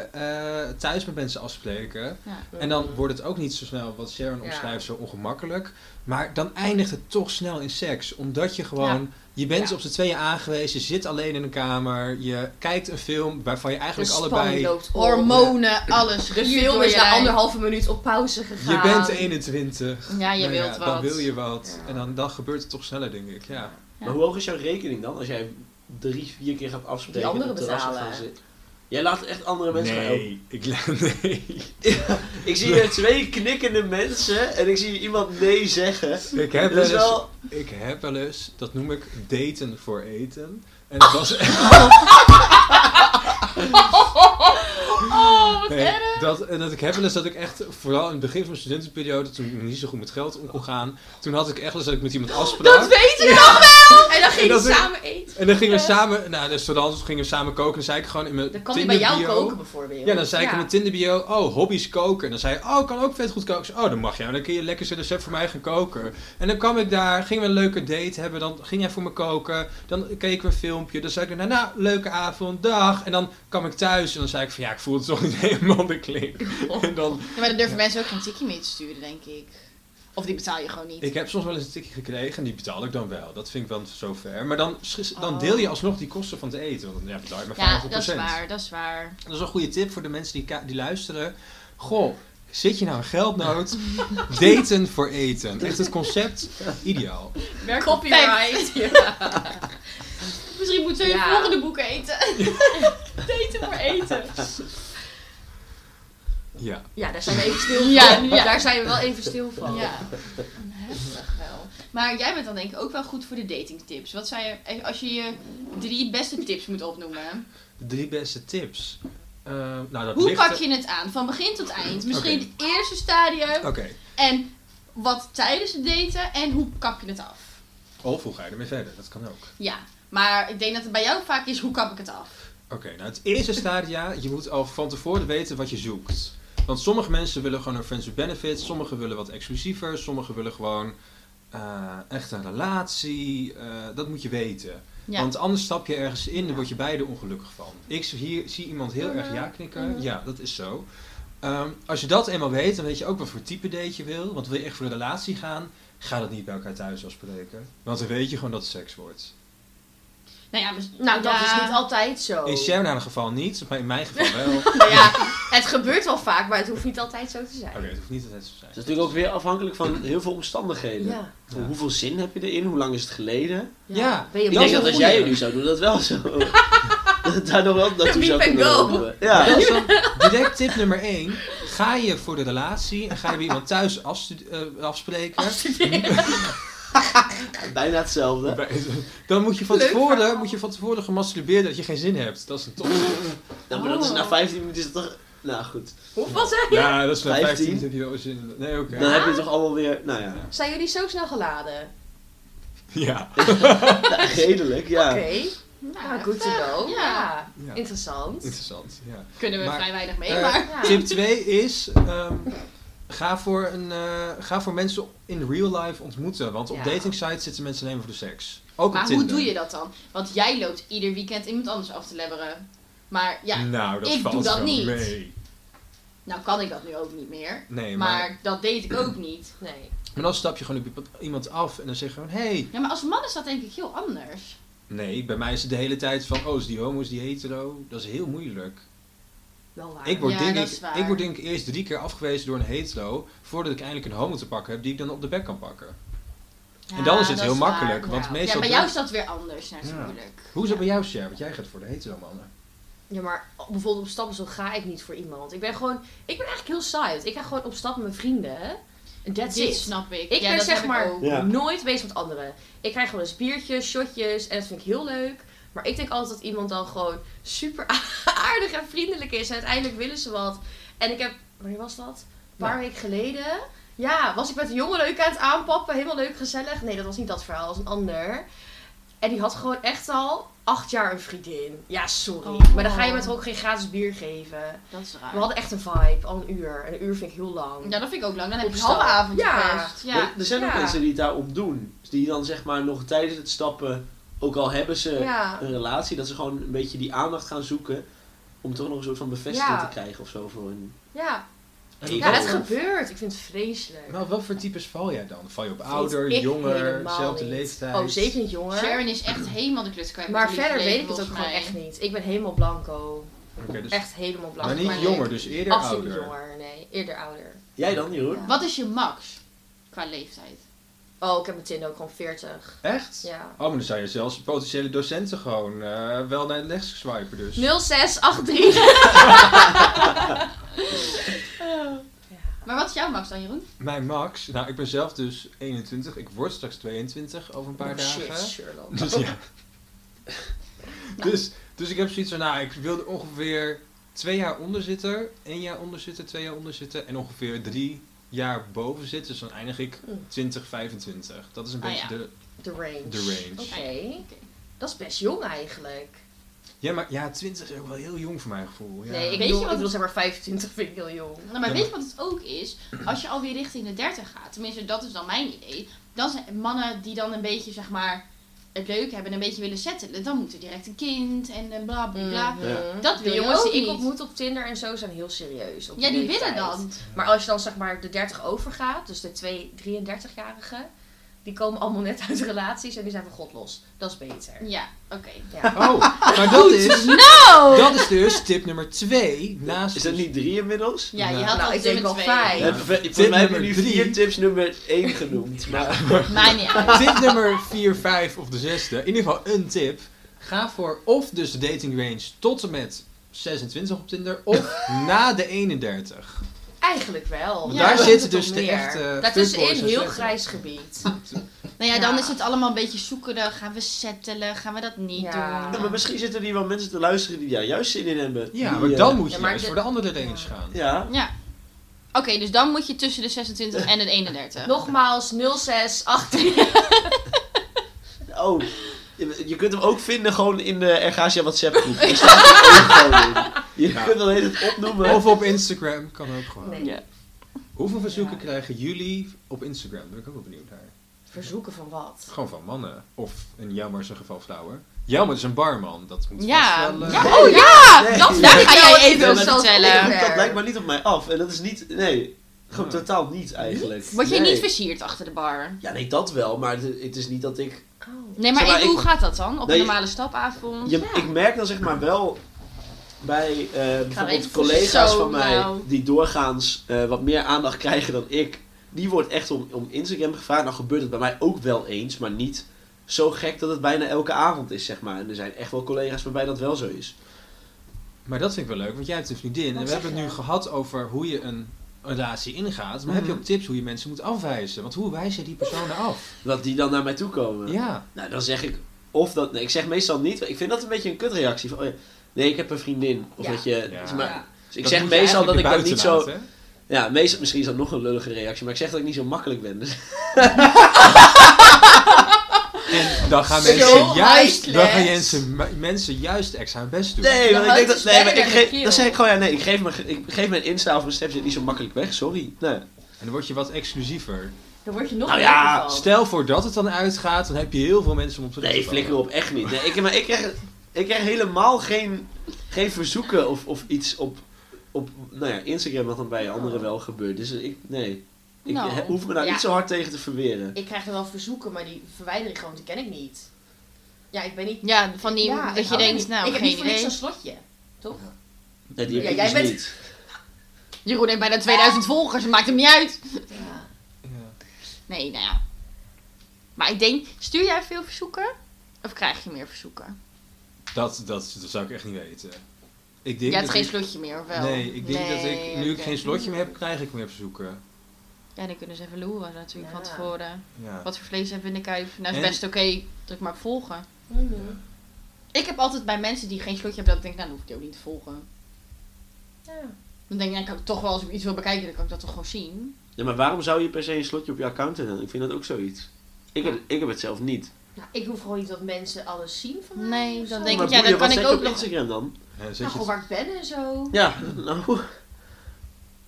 Speaker 1: eh, thuis met mensen afspreken.
Speaker 3: Ja.
Speaker 1: En dan wordt het ook niet zo snel, wat Sharon
Speaker 4: Ja.
Speaker 1: omschrijft, zo ongemakkelijk. Maar dan eindigt het toch snel in seks. Omdat je gewoon, je bent
Speaker 4: Ja.
Speaker 1: op z'n tweeën aangewezen, je zit alleen in een kamer, je kijkt een film waarvan je
Speaker 4: De
Speaker 1: eigenlijk
Speaker 4: spanning
Speaker 1: allebei...
Speaker 4: loopt op.
Speaker 3: Hormonen, alles.
Speaker 4: De
Speaker 3: giert
Speaker 4: film
Speaker 3: door
Speaker 4: is
Speaker 3: je
Speaker 4: na
Speaker 3: lijf.
Speaker 4: anderhalve minuut op pauze gegaan.
Speaker 1: Je bent 21.
Speaker 3: Ja, je
Speaker 1: Nou
Speaker 3: wilt wat.
Speaker 1: Dan wil je wat.
Speaker 4: Ja.
Speaker 1: En dan, dan gebeurt het toch sneller, denk ik. Ja.
Speaker 3: Ja.
Speaker 2: Maar hoe hoog is jouw rekening dan als jij drie, vier keer gaat afspreken?
Speaker 4: Die anderen
Speaker 2: en op het terras
Speaker 4: betalen.
Speaker 2: gaat zitten? Jij laat echt andere mensen gaan helpen.
Speaker 1: ik, nee.
Speaker 2: Ik zie hier twee knikkende mensen en ik zie iemand nee zeggen.
Speaker 1: Ik heb,
Speaker 2: Dat
Speaker 1: wel
Speaker 2: is
Speaker 1: eens,
Speaker 2: wel...
Speaker 1: ik heb wel eens, dat noem ik daten voor eten. En dat was
Speaker 4: Oh, wat
Speaker 1: Nee,
Speaker 4: erg.
Speaker 1: dat, en dat ik heb wel eens dat ik echt, vooral in het begin van mijn studentenperiode, toen ik nog niet zo goed met geld om kon gaan, toen had ik echt wel eens dat ik met iemand afsprak.
Speaker 4: Dat weet ik nog wel! En dan
Speaker 1: En
Speaker 4: gingen
Speaker 1: dat
Speaker 4: ze
Speaker 1: is-
Speaker 4: samen eten.
Speaker 1: en dan gingen we samen naar de restaurant, dus gingen we samen koken. En dan zei ik gewoon in mijn
Speaker 4: Dan kan hij bij
Speaker 1: Tinder
Speaker 4: jou
Speaker 1: bio,
Speaker 4: koken bijvoorbeeld.
Speaker 1: Ja, dan zei ik in mijn Tinder bio, oh, hobby's koken. En dan zei hij, oh, ik kan ook vet goed koken. Ik zei, oh, dan mag jij, dan kun je lekker zijn recept voor mij gaan koken. En dan kwam ik daar, gingen we een leuke date hebben, dan ging hij voor me koken. Dan keken we een filmpje, dan zei ik, nou, nou, leuke avond, dag. En dan kwam ik thuis en dan zei ik van, ja, ik voel het toch niet helemaal de klink. En dan
Speaker 3: Ja, maar dan durven mensen ook geen tikkie mee te sturen, denk ik. Of die betaal je gewoon niet.
Speaker 1: Ik heb soms wel eens een tikje gekregen en die betaal ik dan wel. Dat vind ik wel zover. Maar dan, schis- dan
Speaker 3: Oh.
Speaker 1: deel je alsnog die kosten van het eten. Want dan ja, betaal je maar 50%.
Speaker 3: ja, dat is waar, dat is waar.
Speaker 1: Dat is een goede tip voor de mensen die, ka- die luisteren. Goh, zit je nou in geldnood? Daten voor eten. Echt het concept, ideaal.
Speaker 4: Copyright.
Speaker 3: Misschien moeten we
Speaker 4: Ja.
Speaker 3: je volgende boek eten. Daten voor eten.
Speaker 1: Ja.
Speaker 4: Ja, daar zijn we even stil van.
Speaker 3: Ja, ja.
Speaker 4: Daar zijn we wel even stil van.
Speaker 3: Ja, heftig wel. Maar jij bent dan denk ik ook wel goed voor de datingtips. Wat zijn je, als je je drie beste tips moet opnoemen?
Speaker 1: De drie beste tips. Eh, nou, dat
Speaker 3: Hoe
Speaker 1: ligt
Speaker 3: pak
Speaker 1: er-
Speaker 3: je het aan? Van begin tot eind. Misschien het eerste stadium.
Speaker 1: Oké.
Speaker 3: En wat tijdens het daten en hoe kap je het af?
Speaker 1: Of hoe ga je ermee verder? Dat kan ook.
Speaker 3: Ja, maar ik denk dat het bij jou vaak is, hoe kap ik het af?
Speaker 1: Oké, nou het eerste stadia, je moet al van tevoren weten wat je zoekt. Want sommige mensen willen gewoon een friends with benefits, sommigen willen wat exclusiever, sommigen willen gewoon eh, echt een relatie. eh, dat moet je weten.
Speaker 3: Ja.
Speaker 1: Want anders stap je ergens in, dan word je beide ongelukkig van. Ik zie hier, zie iemand heel erg ja knikken.
Speaker 4: Mhm.
Speaker 1: Ja, dat is zo. Ehm, als je dat eenmaal weet, dan weet je ook wat voor type date je wil. Want wil je echt voor een relatie gaan, ga dat niet bij elkaar thuis afspreken. Want dan weet je gewoon dat het seks wordt.
Speaker 3: nou ja, mis-
Speaker 4: Nou, dat
Speaker 3: ja.
Speaker 4: is niet altijd
Speaker 2: Oh.
Speaker 4: zo.
Speaker 1: In Sharon geval niet, maar in mijn geval wel.
Speaker 4: Nou ja, het gebeurt wel vaak, maar het hoeft niet altijd zo te zijn.
Speaker 1: Oké, het hoeft niet altijd zo te
Speaker 2: Dat is
Speaker 1: zijn.
Speaker 2: natuurlijk ook weer afhankelijk van heel veel omstandigheden.
Speaker 4: Ja.
Speaker 2: Van Hoeveel zin heb je erin? Hoe lang is het geleden?
Speaker 1: Ja.
Speaker 4: Ben je
Speaker 2: Ik
Speaker 1: Dat
Speaker 2: denk
Speaker 4: moe?
Speaker 1: is
Speaker 2: dat
Speaker 1: een
Speaker 2: als jij het
Speaker 1: goeie.
Speaker 2: nu zou doen, dat wel zo. dat daar nog wel naartoe
Speaker 4: Wie
Speaker 2: zou
Speaker 4: ben
Speaker 2: kunnen
Speaker 4: go?
Speaker 2: lopen. Ja.
Speaker 1: Dat is dan direct tip nummer 1. Ga je voor de relatie en ga je weer iemand thuis afstu- eh, afspreken.
Speaker 2: Bijna hetzelfde.
Speaker 1: Dan moet je, van
Speaker 4: Leuk
Speaker 1: tevoren,
Speaker 4: verhaal.
Speaker 1: moet je van tevoren gemasturbeerd dat je geen zin hebt. Dat is een top.
Speaker 2: Nou, maar dat is na 15 minuten is dat toch... Nou goed,
Speaker 4: Hoe was het?
Speaker 1: Ja, dat is na 15
Speaker 2: 15.
Speaker 1: minuten heb je wel zin. in. Nee, oké.
Speaker 2: dan heb je toch allemaal weer... Nou ja,
Speaker 4: Zijn jullie zo snel geladen?
Speaker 1: Ja.
Speaker 2: nou, redelijk, ja.
Speaker 4: Oké.
Speaker 3: Nou,
Speaker 4: Nou, good to know.
Speaker 3: ja.
Speaker 4: Ja.
Speaker 1: Ja.
Speaker 4: Interessant.
Speaker 1: Interessant. Ja.
Speaker 3: Kunnen we
Speaker 1: Maar-
Speaker 3: vrij weinig mee,
Speaker 1: Eh,
Speaker 3: maar...
Speaker 4: Ja.
Speaker 1: Tip 2 is... ehm, Ga voor, een, eh, ga voor mensen in real life ontmoeten. Want op
Speaker 4: Ja.
Speaker 1: dating sites zitten mensen alleen maar voor de seks. Ook op
Speaker 3: Maar hoe
Speaker 1: Tinder.
Speaker 3: doe je dat dan? Want jij loopt ieder weekend iemand anders af te lebberen. Maar ja,
Speaker 1: nou, dat
Speaker 3: ik doe
Speaker 1: valt
Speaker 3: dat
Speaker 1: wel
Speaker 3: niet.
Speaker 1: mee.
Speaker 3: Nou kan ik dat nu ook niet meer.
Speaker 1: Nee, maar...
Speaker 3: Maar dat deed ik ook niet.
Speaker 4: Nee.
Speaker 1: maar dan stap je gewoon op iemand af en dan zeg je gewoon, hé. Hey.
Speaker 3: Ja, maar als man is dat denk ik heel anders.
Speaker 1: Nee, bij mij is het de hele tijd van, oh, is die homo, is die hetero? Dat is heel moeilijk.
Speaker 4: Wel waar.
Speaker 1: Ik word,
Speaker 3: Ja,
Speaker 1: denk
Speaker 3: dat
Speaker 1: ik,
Speaker 3: is waar.
Speaker 1: ik word denk ik eerst drie keer afgewezen door een hetero, voordat ik eindelijk een homo te pakken heb, die ik dan op de bek kan pakken. en dan is het
Speaker 3: Ja,
Speaker 1: heel
Speaker 3: dat
Speaker 1: makkelijk,
Speaker 3: waar.
Speaker 1: want
Speaker 4: ja.
Speaker 3: Ja,
Speaker 1: meestal...
Speaker 3: bij jou is dat weer anders natuurlijk.
Speaker 1: Hoe is dat bij jou, Sher? Want jij gaat voor de hetero mannen.
Speaker 4: Ja, maar bijvoorbeeld op stappen zo ga ik niet voor iemand. Ik ben gewoon, ik ben eigenlijk heel saai. Ik ga gewoon op stap met mijn vrienden. En that's
Speaker 3: Dit
Speaker 4: it.
Speaker 3: snap ik.
Speaker 4: Ik
Speaker 3: Ja,
Speaker 4: ben
Speaker 3: dat
Speaker 4: zeg
Speaker 3: heb ik
Speaker 4: maar
Speaker 3: ook.
Speaker 2: Ja.
Speaker 4: nooit bezig met anderen. Ik krijg gewoon eens biertjes, shotjes en dat vind ik heel leuk. Maar ik denk altijd dat iemand dan gewoon super aardig en vriendelijk is. En uiteindelijk willen ze wat. En ik heb, wanneer was dat? Een paar weken geleden. Ja, was ik met een jongen leuk aan het aanpappen. Helemaal leuk, gezellig. Nee, dat was niet dat verhaal. Dat was een ander. En die had gewoon echt al acht jaar een vriendin. Ja, sorry.
Speaker 3: Oh.
Speaker 4: Maar dan ga je met haar ook geen gratis bier geven.
Speaker 3: Dat is raar.
Speaker 4: We hadden echt een vibe. Al een uur. En een uur vind ik heel lang.
Speaker 3: Ja, dat vind ik ook lang. Dan heb
Speaker 4: Op
Speaker 3: je een
Speaker 4: stap.
Speaker 3: halve avond
Speaker 4: Ja.
Speaker 3: gepest. Ja.
Speaker 2: Er, er zijn ook
Speaker 4: Ja.
Speaker 2: mensen die het daarop doen. Dus die dan zeg maar nog tijdens het stappen, ook al hebben ze
Speaker 4: Ja.
Speaker 2: een relatie, dat ze gewoon een beetje die aandacht gaan zoeken. Om toch nog een soort van bevestiging
Speaker 4: Ja.
Speaker 2: te krijgen of zo voor hun.
Speaker 4: Ja,
Speaker 1: Hey,
Speaker 4: ja
Speaker 1: wel-
Speaker 4: het gebeurt. Ik vind het vreselijk.
Speaker 1: Maar wat voor types val jij dan? Val je op
Speaker 4: Vind
Speaker 1: ouder,
Speaker 4: ik
Speaker 1: jonger,
Speaker 4: helemaal
Speaker 1: dezelfde
Speaker 4: niet.
Speaker 1: leeftijd?
Speaker 4: Oh, zeker niet jonger.
Speaker 3: Sharon is echt helemaal de klut kwijt. met
Speaker 4: maar
Speaker 3: haar
Speaker 4: verder
Speaker 3: liefdesleven,
Speaker 4: weet ik het ook
Speaker 3: volgens
Speaker 4: gewoon
Speaker 3: mij.
Speaker 4: echt niet. Ik ben helemaal blanco.
Speaker 1: Oké, dus-
Speaker 4: Echt helemaal blanco.
Speaker 1: maar niet
Speaker 3: maar nee.
Speaker 1: jonger, dus eerder
Speaker 4: Absoluut niet
Speaker 1: ouder.
Speaker 4: jonger, nee. Eerder ouder.
Speaker 2: Jij dan, Jeroen?
Speaker 4: Ja.
Speaker 3: Wat is je max qua leeftijd?
Speaker 4: Oh, ik heb mijn Tinder ook gewoon 40.
Speaker 1: Echt?
Speaker 4: Ja.
Speaker 1: Oh, maar dan zijn je zelfs potentiële docenten gewoon eh, wel naar rechts swipen dus.
Speaker 4: 0683.
Speaker 3: Maar wat is jouw max dan, Jeroen?
Speaker 1: Mijn max, nou ik ben zelf dus 21, ik word straks 22 over een paar
Speaker 4: Oh,
Speaker 1: dagen.
Speaker 4: Shit, Sherlock.
Speaker 1: Dus ja. dus, dus ik heb zoiets van, nou, ik wilde ongeveer twee jaar onder zitten, één jaar onder zitten, twee jaar onder zitten en ongeveer drie jaar boven zitten. Dus dan eindig ik
Speaker 4: Mm.
Speaker 1: 20, 25. Dat is een
Speaker 3: Ah,
Speaker 1: beetje
Speaker 3: ja.
Speaker 1: de...
Speaker 4: De range.
Speaker 1: De range.
Speaker 4: Oké.
Speaker 3: Oké.
Speaker 4: Dat is best jong eigenlijk.
Speaker 1: Ja, maar ja, 20 is ook wel heel jong voor mijn gevoel. Oh Ja.
Speaker 4: Nee,
Speaker 3: Weet
Speaker 4: ik bedoel,
Speaker 3: je wat-
Speaker 4: ik bedoel zeg maar 25 vind ik heel jong.
Speaker 3: Nou, maar
Speaker 1: Ja,
Speaker 3: weet je wat het ook is? Als je alweer richting de 30 gaat, tenminste dat is dan mijn idee, dan zijn mannen die dan een beetje zeg maar het leuk hebben en een beetje willen settelen, dan moet er direct een kind en eh, bla bla bla.
Speaker 4: Mhm.
Speaker 3: Dat wil
Speaker 4: de
Speaker 3: je
Speaker 4: jongens
Speaker 3: ook
Speaker 4: die ik
Speaker 3: niet.
Speaker 4: ontmoet op Tinder en zo zijn heel serieus. op
Speaker 3: Ja, die willen
Speaker 4: leeftijd.
Speaker 3: dan.
Speaker 4: Maar als je dan zeg maar de 30 overgaat, dus de twee 33-jarigen, die komen allemaal net uit relaties en die zijn van God los. Dat is beter.
Speaker 3: Ja, oké.
Speaker 4: Ja.
Speaker 1: Oh, maar dat is,
Speaker 3: Oh!
Speaker 4: Nou!
Speaker 1: dat is dus tip nummer 2 naast... dus
Speaker 2: Is dat niet drie inmiddels?
Speaker 3: Ja, je
Speaker 1: Nou,
Speaker 3: had
Speaker 4: ik
Speaker 3: al
Speaker 4: denk
Speaker 3: nummer
Speaker 4: wel
Speaker 3: twee.
Speaker 4: vijf.
Speaker 2: We
Speaker 1: Ja.
Speaker 2: hebben- Volgens
Speaker 1: Tip
Speaker 2: mij hebben we nu
Speaker 1: nummer
Speaker 2: vier
Speaker 1: drie.
Speaker 2: tips nummer één genoemd. Maar
Speaker 3: Maakt niet uit.
Speaker 1: Tip nummer 4, 5 of de zesde. In ieder geval een tip. Ga voor of dus de dating range tot en met 26 op Tinder of na de 31.
Speaker 4: Eigenlijk wel.
Speaker 1: Want
Speaker 3: daar
Speaker 4: dat
Speaker 1: zitten
Speaker 4: is
Speaker 1: dus
Speaker 4: toch
Speaker 1: de
Speaker 4: meer.
Speaker 1: echte
Speaker 4: Daartussenin
Speaker 1: fuckboys en
Speaker 4: heel
Speaker 1: slechte.
Speaker 4: grijs gebied.
Speaker 3: Nou ja, dan
Speaker 4: Ja.
Speaker 3: is het allemaal een beetje zoekeren. Gaan we settelen? Gaan we dat niet
Speaker 4: Ja.
Speaker 3: doen?
Speaker 2: Ja, maar misschien zitten hier wel mensen te luisteren die daar juist zin in hebben.
Speaker 1: Ja,
Speaker 2: Die,
Speaker 1: maar
Speaker 2: eh,
Speaker 1: dan moet je
Speaker 4: Ja, maar
Speaker 1: juist
Speaker 4: de-
Speaker 1: voor de andere range gaan.
Speaker 2: Ja,
Speaker 3: Ja. Oké, dus dan moet je tussen de 26 en de 31.
Speaker 4: Nogmaals, 0618.
Speaker 2: oh. Je, je kunt hem ook vinden gewoon in de Ergasia WhatsApp groep. Daar staat hij ook gewoon in. Je
Speaker 1: Ja.
Speaker 2: kunt dan het opnoemen.
Speaker 1: Of op Instagram, kan ook gewoon.
Speaker 4: Nee.
Speaker 2: Ja.
Speaker 1: Hoeveel verzoeken
Speaker 4: Ja.
Speaker 1: krijgen jullie op Instagram? Daar ben ik ook wel benieuwd naar.
Speaker 4: Verzoeken van wat?
Speaker 1: Gewoon van mannen. Of in jouw maar is een geval vrouwen. Jouw maar is een barman. Dat moet
Speaker 3: Ja.
Speaker 1: vast wel... eh,
Speaker 3: Ja.
Speaker 2: Oh
Speaker 3: ja!
Speaker 2: Nee.
Speaker 3: Dat, daar ga jij
Speaker 4: Nou, het
Speaker 3: even
Speaker 2: is
Speaker 3: over
Speaker 2: wel zo
Speaker 3: vertellen.
Speaker 4: goed.
Speaker 2: Dat lijkt maar niet op mij af. En dat is niet... Nee, gewoon
Speaker 1: Ja.
Speaker 2: totaal niet eigenlijk.
Speaker 3: Word je
Speaker 2: Nee.
Speaker 3: niet versierd achter de bar?
Speaker 2: Ja, nee, dat wel. Maar het, het is niet dat ik...
Speaker 4: Oh.
Speaker 3: Nee, maar,
Speaker 2: Zeg maar,
Speaker 3: ik- hoe
Speaker 2: ik-
Speaker 3: gaat dat dan? Op
Speaker 2: Nee,
Speaker 3: een normale stapavond?
Speaker 2: Je,
Speaker 4: Ja.
Speaker 2: Ik merk dan zeg maar wel bij eh bijvoorbeeld
Speaker 3: even
Speaker 2: collega's
Speaker 3: zo,
Speaker 2: van mij
Speaker 3: nou.
Speaker 2: die doorgaans eh, wat meer aandacht krijgen dan ik. Die wordt echt om, om Instagram gevraagd. Nou gebeurt het bij mij ook wel eens, maar niet zo gek dat het bijna elke avond is, zeg maar. En er zijn echt wel collega's waarbij dat wel zo is.
Speaker 1: Maar dat vind ik wel leuk, want jij hebt een vriendin.
Speaker 4: Wat
Speaker 1: en we
Speaker 4: zeg
Speaker 1: hebben het
Speaker 4: je?
Speaker 1: nu gehad over hoe je een relatie ingaat. Maar heb je
Speaker 2: Mhm.
Speaker 1: ook tips hoe je mensen moet afwijzen? Want hoe wijs je die personen af?
Speaker 2: Dat die dan naar mij toe komen.
Speaker 1: Ja.
Speaker 2: Nou, dan zeg ik of dat... Nee, ik zeg meestal niet. Ik vind dat een beetje een kutreactie. Van, oh ja, nee, ik heb een vriendin. Of
Speaker 4: Ja.
Speaker 2: dat je...
Speaker 1: Ja.
Speaker 2: maar-
Speaker 4: Ja.
Speaker 2: dus ik
Speaker 1: Dat
Speaker 2: zeg
Speaker 1: moet je
Speaker 2: meestal dat ik
Speaker 1: eigenlijk
Speaker 2: dat
Speaker 1: weer
Speaker 2: niet zo...
Speaker 1: buiten laten, hè?
Speaker 2: Ja, meestal, misschien is dat nog een lullige reactie, maar ik zeg dat ik niet zo makkelijk ben. Dus
Speaker 1: En dan gaan
Speaker 4: Zo
Speaker 1: mensen juist, dan
Speaker 4: high-class.
Speaker 1: gaan mensen, me- mensen juist extra hun best doen.
Speaker 2: Nee,
Speaker 4: De
Speaker 2: want ik
Speaker 4: huid
Speaker 2: denk dat.
Speaker 4: is
Speaker 2: Nee, maar
Speaker 4: verder
Speaker 2: ik
Speaker 4: dan de
Speaker 2: geef,
Speaker 4: keel.
Speaker 2: dan zeg ik gewoon ja, nee, ik geef mijn, ik geef mijn Insta of mijn Snapchat niet zo makkelijk weg, sorry. Nee.
Speaker 1: En dan word je wat exclusiever.
Speaker 4: Dan word je nog
Speaker 2: Nou
Speaker 4: meer
Speaker 2: ja,
Speaker 4: gevallen.
Speaker 1: Stel voor dat het dan uitgaat, dan heb je heel veel mensen om op te
Speaker 2: Nee,
Speaker 1: letten.
Speaker 2: flikker op, echt niet. Nee, ik, maar ik krijg, ik krijg helemaal geen, geen verzoeken of, of iets op op nou ja, Instagram wat dan bij anderen wel gebeurt. Dus ik, nee. Ik
Speaker 3: Nou,
Speaker 2: he- hoef me daar
Speaker 4: ja.
Speaker 2: niet zo hard tegen te verweren.
Speaker 4: Ik krijg er wel verzoeken, maar die verwijder ik gewoon, die ken ik niet. Ja, ik ben niet...
Speaker 3: Ja, van die,
Speaker 4: Ja, ik
Speaker 3: dat je
Speaker 4: hou
Speaker 3: denkt,
Speaker 4: niet-
Speaker 3: nou,
Speaker 4: ik heb
Speaker 3: geen
Speaker 4: niet voor niks
Speaker 3: idee.
Speaker 4: een slotje.
Speaker 2: Nee, die heb
Speaker 4: Ja,
Speaker 2: ik
Speaker 4: jij
Speaker 2: dus
Speaker 4: bent-
Speaker 2: niet.
Speaker 3: Jeroen heeft bijna 2000 volgers, maakt hem niet uit.
Speaker 4: Ja.
Speaker 1: Ja.
Speaker 3: Nee, nou ja. Maar ik denk, stuur jij veel verzoeken? Of krijg je meer verzoeken?
Speaker 1: Dat, dat, dat zou ik echt niet weten. Ik denk
Speaker 3: Jij hebt
Speaker 1: dat
Speaker 3: geen
Speaker 1: ik-
Speaker 3: slotje meer, of wel?
Speaker 1: Nee, ik denk dat ik,
Speaker 3: Nee,
Speaker 1: nu ik
Speaker 3: oké.
Speaker 1: geen slotje meer heb, krijg ik meer verzoeken.
Speaker 3: Ja, dan kunnen ze even loeren natuurlijk van
Speaker 4: Ja.
Speaker 3: tevoren.
Speaker 1: Ja.
Speaker 3: Wat voor vlees hebben we in de kuip? Nou, is
Speaker 1: En-
Speaker 3: best oké. Druk maar op volgen. Ik heb altijd bij mensen die geen slotje hebben, dat ik denk, nou, dan hoef ik die ook niet te volgen.
Speaker 4: Ja.
Speaker 3: Dan denk ik, nou, kan ik toch wel, als ik iets wil bekijken, dan kan ik dat toch gewoon zien.
Speaker 2: Ja, maar waarom zou je per se een slotje op je account hebben? Ik vind dat ook zoiets. Ik heb, ik heb het zelf niet.
Speaker 4: Nou, ik hoef gewoon niet dat mensen alles zien van mij.
Speaker 3: Nee,
Speaker 4: of
Speaker 3: dan
Speaker 4: zo.
Speaker 3: denk
Speaker 2: maar
Speaker 3: ik, ja,
Speaker 2: boeien,
Speaker 3: dan
Speaker 2: wat zet
Speaker 3: kan ik
Speaker 2: je
Speaker 3: ook
Speaker 2: op
Speaker 3: nog-
Speaker 2: Instagram dan?
Speaker 1: Ja, zet je
Speaker 4: Nou, gewoon
Speaker 1: het-
Speaker 4: waar ik ben en zo.
Speaker 2: Ja, nou.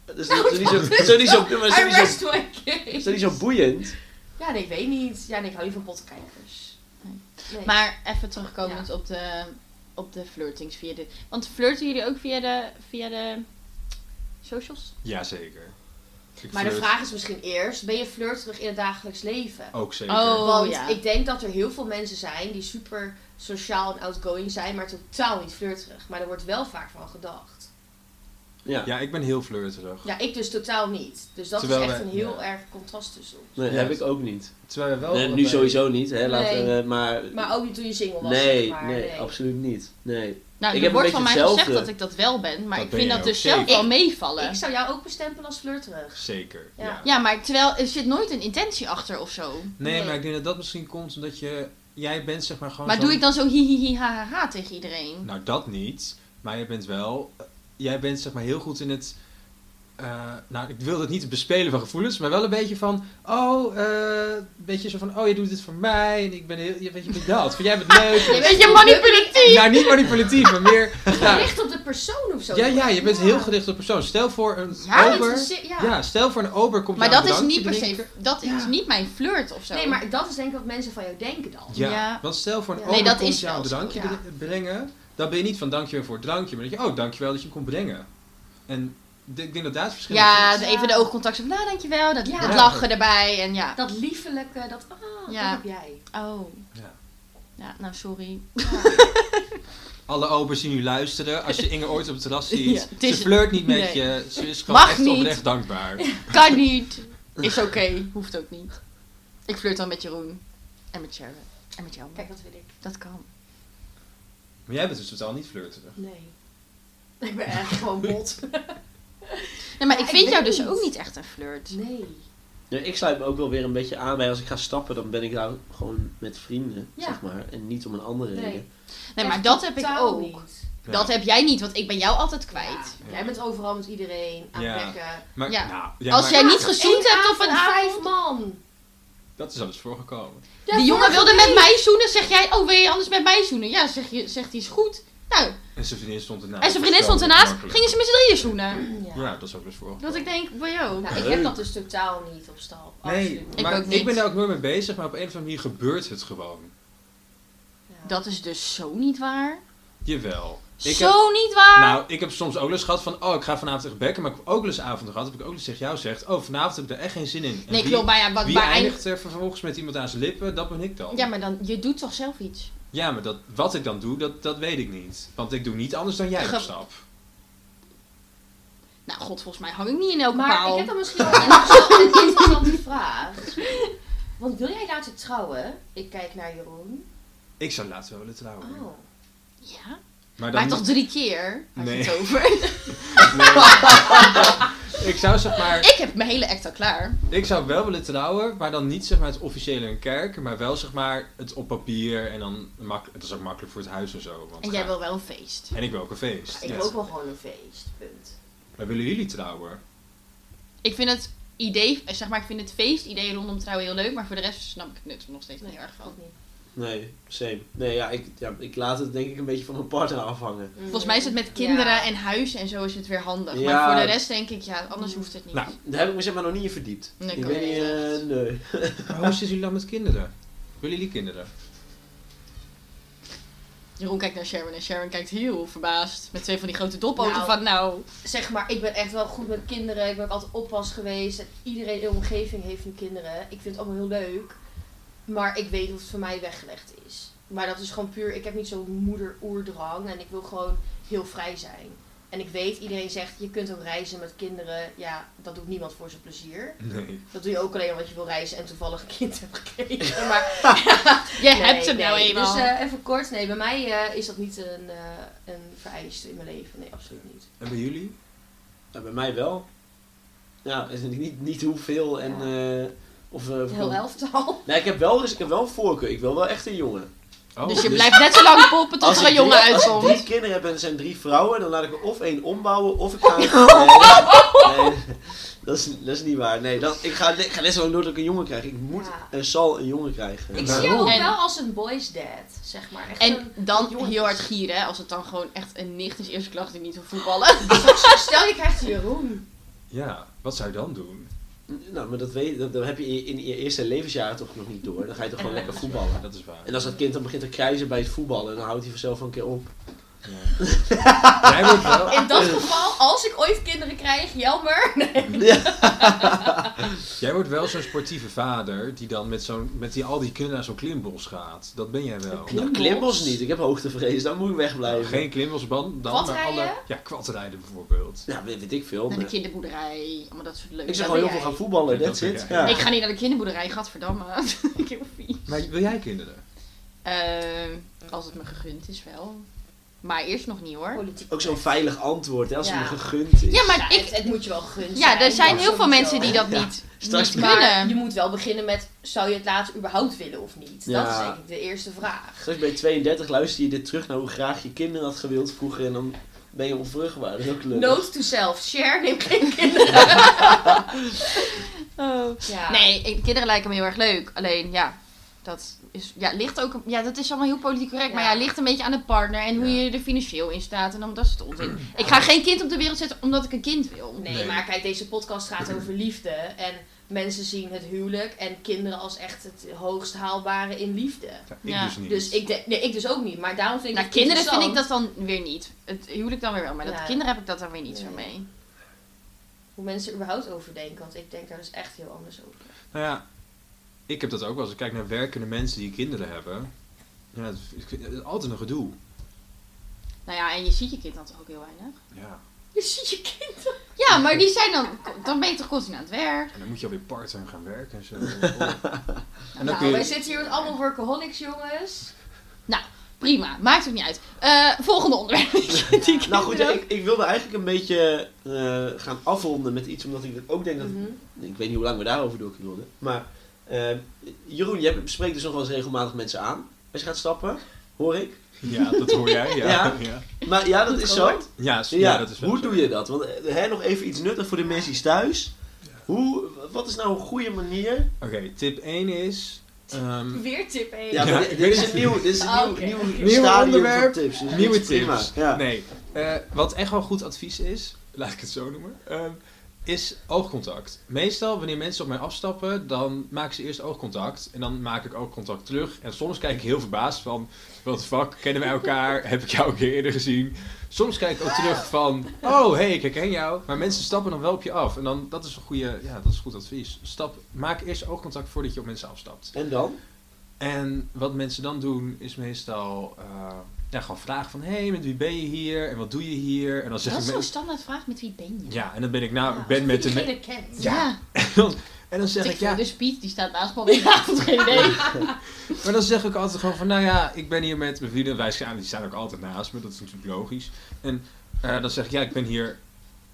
Speaker 2: Dat is niet, niet zo, dat is niet zo, maar is
Speaker 4: I
Speaker 2: dat niet zo,
Speaker 4: Oh, rest my case.
Speaker 2: is dat niet zo boeiend.
Speaker 4: Ja, nee, ik weet niet. Ja, nee, ik hou niet van pottenkijkers.
Speaker 3: Nee.
Speaker 4: Nee.
Speaker 3: Maar even terugkomend op, de, op de flirtings via de... Want flirten jullie ook via de, via de socials?
Speaker 1: Ja, zeker. Ik
Speaker 4: Maar de
Speaker 1: flirt
Speaker 4: vraag is misschien eerst, ben je flirterig in het dagelijks leven?
Speaker 1: Ook zeker.
Speaker 3: Oh.
Speaker 4: Want
Speaker 3: ja.
Speaker 4: ik denk dat er heel veel mensen zijn die super sociaal en outgoing zijn, maar totaal niet flirterig. Maar er wordt wel vaak van gedacht.
Speaker 2: Ja,
Speaker 1: Ja, ik ben heel flirterig.
Speaker 4: Ja, ik dus totaal niet. Dus dat
Speaker 1: Terwijl
Speaker 4: is echt
Speaker 1: wij-
Speaker 4: een heel
Speaker 1: ja.
Speaker 4: erg contrast tussen ons.
Speaker 2: nee, heb ik ook niet.
Speaker 1: Terwijl we wel
Speaker 2: Nee, nu
Speaker 1: allebei-
Speaker 2: sowieso niet, hè. Laten
Speaker 4: Nee.
Speaker 2: we, maar,
Speaker 4: Maar ook niet toen je single was.
Speaker 2: nee,
Speaker 4: zeg maar.
Speaker 2: nee, absoluut niet. Nee. Ik
Speaker 3: Nou, er
Speaker 2: heb een
Speaker 3: wordt
Speaker 2: beetje
Speaker 3: van mij
Speaker 2: hetzelfde.
Speaker 3: gezegd dat ik dat wel ben, maar
Speaker 1: Dat
Speaker 3: ik
Speaker 1: ben jij
Speaker 3: vind dat
Speaker 1: ook
Speaker 3: dus zelf
Speaker 1: zeker.
Speaker 3: wel
Speaker 4: Ik-
Speaker 3: meevallen.
Speaker 4: Ik zou jou ook bestempelen als flirterig.
Speaker 1: Zeker,
Speaker 4: Ja.
Speaker 1: ja.
Speaker 3: Ja, maar terwijl er zit nooit een intentie achter of zo.
Speaker 1: Nee,
Speaker 4: Nee.
Speaker 1: maar ik denk dat dat misschien komt omdat je... Jij bent zeg maar gewoon
Speaker 3: Maar
Speaker 1: zo'n-
Speaker 3: doe ik dan zo hi hi hi ha ha ha tegen iedereen?
Speaker 1: Nou, dat niet. Maar je bent wel... eh, Jij bent zeg maar heel goed in het... eh, nou, ik wil het niet bespelen van gevoelens, maar wel een beetje van... Oh, eh, een beetje zo van... Oh, je doet dit voor mij en ik ben heel... Je weet je bent dat. Van, jij bent leuk.
Speaker 4: Je bent
Speaker 3: Weet je, manipulatief!
Speaker 1: Nou, niet manipulatief, maar meer... nou,
Speaker 4: Gericht op de persoon of zo.
Speaker 1: ja, ja, je bent
Speaker 4: Ja.
Speaker 1: heel gericht op persoon. Stel voor een
Speaker 3: Ja,
Speaker 4: Ja,
Speaker 1: ober...
Speaker 4: het is een si- ja.
Speaker 1: Ja. stel voor een ober komt
Speaker 3: Maar
Speaker 1: jou
Speaker 3: dat is
Speaker 1: een
Speaker 3: niet per
Speaker 1: drankje
Speaker 3: se, dat is
Speaker 4: Ja.
Speaker 3: niet mijn flirt of zo.
Speaker 4: Nee, maar dat is denk ik wat mensen van jou denken dan.
Speaker 1: drinken. Ja,
Speaker 3: Ja.
Speaker 1: want stel voor een
Speaker 4: Ja.
Speaker 1: ober
Speaker 4: Nee,
Speaker 3: dat
Speaker 1: komt
Speaker 3: is
Speaker 1: jou een
Speaker 3: wel zo,
Speaker 1: drankje
Speaker 4: ja.
Speaker 1: br- brengen, dan ben je niet van dankjewel voor het drankje, maar dat je, oh dankjewel dat je hem kon brengen. En d- ik denk dat daar het verschil
Speaker 3: Ja,
Speaker 1: is.
Speaker 3: de- even de oogcontact van, nou dankjewel, dat,
Speaker 4: Ja.
Speaker 3: dat lachen erbij en ja.
Speaker 4: Dat liefelijke, dat ah,
Speaker 3: Ja.
Speaker 4: dat heb jij.
Speaker 3: Oh.
Speaker 1: Ja.
Speaker 3: Ja, nou sorry.
Speaker 4: Ah,
Speaker 1: Alle obers die nu luisteren, als je Inge ooit op het terras
Speaker 3: Ja,
Speaker 1: ziet,
Speaker 3: het
Speaker 1: ze
Speaker 3: is-
Speaker 1: flirt niet met
Speaker 3: nee.
Speaker 1: je, ze is gewoon
Speaker 3: Mag
Speaker 1: echt
Speaker 3: niet.
Speaker 1: oprecht dankbaar.
Speaker 3: Kan niet. Is oké, hoeft ook niet. Ik flirt dan met Jeroen. En met Sharon. En met jou.
Speaker 4: Kijk, dat weet ik.
Speaker 3: dat kan.
Speaker 1: Maar jij bent dus totaal niet flirterig.
Speaker 4: Nee. Ik ben echt gewoon bot.
Speaker 3: Nee, maar
Speaker 4: Ja,
Speaker 3: ik
Speaker 4: ik
Speaker 3: vind jou
Speaker 4: weet
Speaker 3: dus
Speaker 4: niet.
Speaker 3: ook niet echt een flirt.
Speaker 4: Nee.
Speaker 2: Ja, ik sluit me ook wel weer een beetje aan bij als ik ga stappen, dan ben ik daar gewoon met vrienden,
Speaker 4: Ja.
Speaker 2: zeg maar. En niet om een andere
Speaker 4: Nee.
Speaker 2: reden.
Speaker 3: Nee, maar
Speaker 4: Echt
Speaker 3: dat heb ik
Speaker 4: totaal
Speaker 3: ook.
Speaker 4: niet.
Speaker 1: Ja.
Speaker 3: Dat heb jij niet, want ik ben jou altijd kwijt.
Speaker 4: Ja, Jij bent overal met iedereen aan
Speaker 1: Ja.
Speaker 4: plekken.
Speaker 1: Maar,
Speaker 3: Ja.
Speaker 1: nou, ja,
Speaker 3: Als
Speaker 1: maar
Speaker 3: jij niet gezoend
Speaker 4: Eén
Speaker 3: hebt op een avond.
Speaker 4: vijf man.
Speaker 1: dat is al eens voorgekomen.
Speaker 4: Ja,
Speaker 3: die jongen
Speaker 4: vorige
Speaker 3: wilde
Speaker 4: week.
Speaker 3: met mij zoenen, zeg jij, oh wil je anders met mij zoenen? Ja, zeg je, zegt hij is goed. Nou,
Speaker 1: En zijn vriendin stond ernaast.
Speaker 3: en zijn vriendin
Speaker 1: Zo
Speaker 3: stond ernaast,
Speaker 1: makkelijk.
Speaker 3: gingen ze met z'n drieën zoenen.
Speaker 4: Ja.
Speaker 1: Ja, dat is ook dus voorgekomen.
Speaker 3: Dat ik denk, wow.
Speaker 4: Nou, ik heb dat dus totaal niet op stap.
Speaker 1: Nee,
Speaker 4: Absoluut.
Speaker 3: Ik
Speaker 1: maar
Speaker 3: ook niet.
Speaker 1: ik ben daar ook nooit mee bezig, maar op een of andere manier gebeurt het gewoon.
Speaker 4: Ja.
Speaker 3: Dat is dus zo niet waar.
Speaker 1: Jawel. Ik heb,
Speaker 3: zo niet waar.
Speaker 1: nou, ik heb soms ook wel eens gehad van, oh, ik ga vanavond echt bekken, maar ik heb ook wel eens avonden gehad, heb ik ook wel eens tegen jou gezegd, oh, vanavond heb ik er echt geen zin in. En
Speaker 3: nee,
Speaker 1: wie,
Speaker 3: klopt, maar ja, wat,
Speaker 1: Wie
Speaker 3: waar eind-
Speaker 1: eindigt er vervolgens met iemand aan zijn lippen? Dat ben ik dan.
Speaker 3: Ja, maar dan, je doet toch zelf iets?
Speaker 1: Ja, maar dat, wat ik dan doe, dat, dat weet ik niet. Want ik doe niet anders dan jij
Speaker 3: Ge-
Speaker 1: op stap.
Speaker 3: Nou, god, volgens mij hang ik niet in elke
Speaker 4: Maar
Speaker 3: paal.
Speaker 4: ik heb dan misschien wel een interessante- een interessante vraag. Want wil jij laten trouwen? Ik kijk naar Jeroen.
Speaker 1: Ik zou later wel willen trouwen.
Speaker 4: Oh.
Speaker 3: Ja?
Speaker 1: Maar dan
Speaker 3: Maar toch drie keer? Had je
Speaker 1: Nee.
Speaker 3: het over?
Speaker 1: nee. ik zou zeg maar,
Speaker 3: ik heb mijn hele act al klaar.
Speaker 1: ik zou wel willen trouwen, maar dan niet zeg maar het officiële een kerk, maar wel zeg maar het op papier en dan mak- het is ook makkelijk voor het huis en zo. Want
Speaker 3: En jij
Speaker 1: ga-
Speaker 3: wil wel een feest.
Speaker 1: En ik wil ook een feest.
Speaker 4: Ik
Speaker 1: yes.
Speaker 4: wil ook wel gewoon een feest. Punt.
Speaker 1: Maar willen jullie trouwen?
Speaker 3: Ik vind het idee, eh, zeg maar, ik vind het feestidee rondom trouwen heel leuk, maar voor de rest snap ik het nut er nog steeds niet
Speaker 4: Nee,
Speaker 3: erg van.
Speaker 4: ook niet.
Speaker 2: Nee, same. Nee, ja ik, ja, ik laat het denk ik een beetje van mijn partner afhangen.
Speaker 3: Volgens mij is het met kinderen en huizen en zo is het weer handig. Maar
Speaker 2: Ja.
Speaker 3: voor de rest denk ik, ja, anders hoeft het niet.
Speaker 1: Nou.
Speaker 2: Daar heb ik me zeg maar nog niet in verdiept.
Speaker 3: Nee, ik
Speaker 2: ik
Speaker 3: ook
Speaker 2: weet niet,
Speaker 3: niet.
Speaker 2: eh, nee.
Speaker 1: Maar hoe zitten jullie dan met kinderen? Willen jullie kinderen?
Speaker 3: Jeroen kijkt naar Sharon en Sharon kijkt heel verbaasd. Met twee van die grote dopoten
Speaker 4: Nou.
Speaker 3: van nou...
Speaker 4: Zeg maar, ik ben echt wel goed met kinderen. Ik ben ook altijd oppas geweest. En iedereen in de omgeving heeft nu kinderen. Ik vind het allemaal heel leuk. Maar ik weet hoe het voor mij weggelegd is. Maar dat is gewoon puur... Ik heb niet zo'n moeder-oerdrang. En ik wil gewoon heel vrij zijn. En ik weet, iedereen zegt, je kunt ook reizen met kinderen. Ja, dat doet niemand voor zijn plezier.
Speaker 1: Nee.
Speaker 4: Dat doe je ook alleen omdat je wil reizen en toevallig een kind hebt gekregen. Maar
Speaker 3: Je
Speaker 4: Nee,
Speaker 3: hebt hem nou
Speaker 4: nee.
Speaker 3: eenmaal.
Speaker 4: Dus eh, even kort, nee, bij mij eh, is dat niet een, eh een vereiste in mijn leven. Nee, absoluut niet.
Speaker 1: En bij jullie?
Speaker 2: Ja, Nou, bij mij wel. Ja, is het niet, niet hoeveel en... eh, of, eh,
Speaker 4: Heel elftal.
Speaker 2: Nee, ik heb wel, dus ik heb wel een voorkeur. Ik wil wel echt een jongen.
Speaker 1: Oh,
Speaker 3: dus je blijft net zo lang poppen tot
Speaker 2: Als
Speaker 3: er een
Speaker 2: ik
Speaker 3: jongen
Speaker 2: drie- Als ik
Speaker 3: uitkomt.
Speaker 2: drie kinderen heb en er zijn drie vrouwen, dan laat ik er of één ombouwen of ik ga. Nee, nee, dat, is, dat is niet waar. Nee, dat, ik, ga, ik ga net zo nooit ook een jongen krijgen. Ik moet
Speaker 4: Ja.
Speaker 2: en zal een jongen krijgen.
Speaker 4: Ik
Speaker 1: Ja.
Speaker 4: zie jou ook
Speaker 3: En-
Speaker 4: wel als een boys dad, zeg maar. Echt
Speaker 3: En
Speaker 4: een-
Speaker 3: dan
Speaker 4: jongens.
Speaker 3: heel hard gieren, hè, als het dan gewoon echt een nicht is eerste klas die niet wil voetballen.
Speaker 4: Stel je krijgt Jeroen.
Speaker 1: Ja, wat zou je dan doen?
Speaker 2: Nou, maar dat, weet, dat, dat heb je in in je eerste levensjaar toch nog niet door. Dan ga je toch gewoon lekker voetballen.
Speaker 1: Dat is waar.
Speaker 2: En als dat kind dan begint te krijzen bij het voetballen, dan houdt hij vanzelf wel een keer op.
Speaker 1: Ja. Jij wordt wel...
Speaker 4: In dat geval, als ik ooit kinderen krijg, jammer.
Speaker 1: Jij wordt wel zo'n sportieve vader die dan met, zo'n, met die, al die kinderen naar zo'n klimbos gaat. Dat ben jij wel.
Speaker 2: Nou, klimbos niet. Ik heb hoogtevrees, dan moet ik wegblijven.
Speaker 1: Geen klimbosband dan, maar
Speaker 4: Kwadrijden?
Speaker 1: alle... Ja, kwadrijden bijvoorbeeld.
Speaker 2: Ja, Nou, weet, weet ik veel.
Speaker 3: Naar de
Speaker 2: maar-
Speaker 3: kinderboerderij, allemaal dat soort leuke
Speaker 2: Ik zeg
Speaker 4: Dat
Speaker 2: gewoon heel
Speaker 4: ben
Speaker 2: veel
Speaker 4: jij.
Speaker 2: gaan voetballen, that's
Speaker 1: Dat
Speaker 2: it.
Speaker 1: ben jij.
Speaker 2: Ja.
Speaker 3: Ik ga niet naar de kinderboerderij, gadverdamme. ik heb vies.
Speaker 1: Maar wil jij kinderen?
Speaker 3: Eh, als het me gegund is wel. Maar eerst nog niet hoor.
Speaker 4: Politiek.
Speaker 2: Ook zo'n veilig antwoord, hè, als het
Speaker 4: Ja.
Speaker 2: me gegund is.
Speaker 3: Ja,
Speaker 4: Ja,
Speaker 3: maar
Speaker 4: het,
Speaker 3: ik...
Speaker 4: het moet je wel gunst
Speaker 3: Ja, er zijn heel veel
Speaker 4: dus sowieso.
Speaker 3: mensen die dat niet,
Speaker 2: straks
Speaker 3: niet
Speaker 4: Maar je
Speaker 3: kunnen.
Speaker 4: moet wel beginnen met, zou je het later überhaupt willen of niet? Dat
Speaker 2: Ja.
Speaker 4: is denk ik de eerste vraag.
Speaker 2: Straks ben je 32, luister je dit terug naar hoe graag je kinderen had gewild vroeger en dan ben je onvruchtbaar. Dat is ook leuk.
Speaker 4: Note to self, share, neem geen kinderen. Ja.
Speaker 3: Oh. Nee, ik- kinderen lijken me heel erg leuk. Alleen ja, dat is, ja, ligt ook, ja, dat is allemaal heel politiek correct. Maar
Speaker 4: Ja.
Speaker 3: ja, ligt een beetje aan de partner en hoe
Speaker 1: Ja.
Speaker 3: je er financieel in staat. En dan, dat is het onzin. Ik ga geen kind op de wereld zetten omdat ik een kind wil.
Speaker 4: Nee,
Speaker 1: Nee.
Speaker 4: maar kijk, deze podcast gaat over liefde. En mensen zien het huwelijk en kinderen als echt het hoogst haalbare in liefde.
Speaker 1: Ja, ik
Speaker 3: Ja,
Speaker 1: dus niet.
Speaker 4: Dus ik, denk- nee, ik dus ook niet. Maar daarom vind ik
Speaker 3: Nou,
Speaker 4: het
Speaker 3: kinderen vind ik
Speaker 4: interessant
Speaker 3: dat dan weer niet. Het huwelijk dan weer wel, maar dat
Speaker 4: Ja.
Speaker 3: kinderen heb ik dat dan weer niet zo
Speaker 4: Nee.
Speaker 3: mee.
Speaker 4: Hoe mensen er überhaupt over denken. Want ik denk daar dus echt heel anders over.
Speaker 1: Nou ja, ik heb dat ook wel. Als ik kijk naar werkende mensen die kinderen hebben. Ja, dat ik vind- dat is altijd een gedoe.
Speaker 3: Nou ja, en je ziet je kind dan toch ook heel weinig?
Speaker 1: Ja.
Speaker 4: Je ziet je kinderen.
Speaker 3: Ja, maar die zijn dan, dan ben je toch continu aan het werk.
Speaker 1: En dan moet je alweer part-time gaan werken en zo. Oh. En dan kun
Speaker 4: Nou, wij
Speaker 1: je...
Speaker 4: zitten hier met allemaal workaholics, jongens.
Speaker 3: Prima, maakt het niet uit. Eh, volgende onderwerp. Die
Speaker 2: Nou goed, ja,
Speaker 3: kinderen.
Speaker 2: ik, ik wilde eigenlijk een beetje eh, gaan afronden met iets, omdat ik ook denk dat...
Speaker 3: Mhm.
Speaker 4: Mhm.
Speaker 2: Ik weet niet hoe lang we daarover door kunnen worden. Maar eh, Jeroen, jij spreekt dus nog wel eens regelmatig mensen aan als je gaat stappen. Hoor ik.
Speaker 1: Ja, dat hoor jij. Ja,
Speaker 2: Ja.
Speaker 1: ja. ja.
Speaker 2: Maar ja, dat
Speaker 4: Goed
Speaker 2: is zo.
Speaker 4: gehoord.
Speaker 1: ja, s-
Speaker 2: Ja,
Speaker 1: ja, dat is wel
Speaker 2: hoe
Speaker 1: zo.
Speaker 2: doe je dat? Want eh, hè, nog even iets nuttigs voor de mensen thuis. Hoe, wat is nou een goede manier
Speaker 1: Oké, tip 1 is... ehm,
Speaker 4: Weer tip 1.
Speaker 2: Ja,
Speaker 1: Ja,
Speaker 2: maar dit,
Speaker 1: ik
Speaker 2: dit
Speaker 1: weet
Speaker 2: is
Speaker 1: het
Speaker 2: een nieuw, dit is een
Speaker 4: Ah,
Speaker 2: nieuw,
Speaker 4: oké.
Speaker 2: nieuw,
Speaker 4: Nieuw
Speaker 2: stadium
Speaker 1: onderwerp,
Speaker 2: van tips. dus
Speaker 1: Nieuwe
Speaker 2: dit is prima.
Speaker 1: tips.
Speaker 2: Ja.
Speaker 1: Nee. Eh, wat echt wel goed advies is, laat ik het zo noemen, ehm, is oogcontact. Meestal wanneer mensen op mij afstappen, dan maken ze eerst oogcontact. En dan maak ik oogcontact terug. En soms kijk ik heel verbaasd van, wat the fuck, kennen wij elkaar? Heb ik jou een keer eerder gezien? Soms kijk ik ook terug van, oh hey, ik herken jou. Maar mensen stappen dan wel op je af. En dan, dat is een goede, ja, dat is goed advies. Stap, maak eerst oogcontact voordat je op mensen afstapt.
Speaker 2: En dan?
Speaker 1: En wat mensen dan doen is meestal eh, ja, gewoon vragen van... hey, met wie ben je hier? En wat doe je hier? En dan
Speaker 3: Dat
Speaker 1: zeggen
Speaker 3: is zo'n
Speaker 1: mensen...
Speaker 3: standaardvraag, met wie ben je?
Speaker 1: Ja, en dan ben ik nou... ik ben met de... me-
Speaker 4: Diegene kent.
Speaker 1: Ja. En dan zeg
Speaker 3: Dus
Speaker 1: ik
Speaker 3: ik voel
Speaker 1: ja...
Speaker 3: dus Piet, die staat naast me op de avond, geen idee.
Speaker 1: Maar dan zeg ik altijd gewoon van... Nou ja, ik ben hier met mijn vrienden. Wij staan, die staan ook altijd naast me. Dat is natuurlijk logisch. En eh, dan zeg ik ja, ik ben hier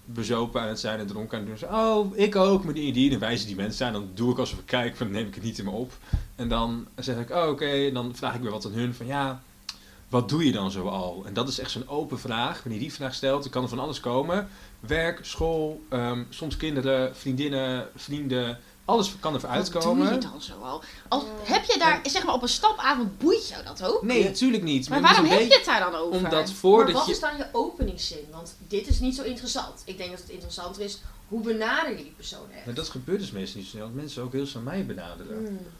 Speaker 1: bezopen aan het zijn en dronken aan het doen. Ze, oh, ik ook, met die en die. En dan wijzen die mensen aan. Dan doe ik alsof ik kijk, van dan neem ik het niet in me op. En dan zeg ik, oh, oké. En dan vraag ik weer wat aan hun. Van ja, wat doe je dan zoal? En dat is echt zo'n open vraag. Wanneer je die vraag stelt, dan kan er van alles komen. Werk, school, ehm, soms kinderen, vriendinnen, vrienden. Alles kan er
Speaker 3: Wat
Speaker 1: uitkomen.
Speaker 3: doe je dan zo al? Als, heb je daar, zeg maar op een stapavond, boeit jou dat ook?
Speaker 1: Nee, natuurlijk niet.
Speaker 3: Maar
Speaker 1: het is dus
Speaker 3: waarom
Speaker 1: een
Speaker 3: heb je
Speaker 1: beetje-
Speaker 3: het daar dan over?
Speaker 1: Omdat
Speaker 4: Maar
Speaker 1: voordat
Speaker 4: wat
Speaker 1: je...
Speaker 4: is dan je openingszin? Want dit is niet zo interessant. Ik denk dat het interessanter is, hoe benader je die persoon echt?
Speaker 1: Maar dat gebeurt dus meestal niet zo snel. want Mensen ook heel snel mij benaderen.
Speaker 4: Hmm.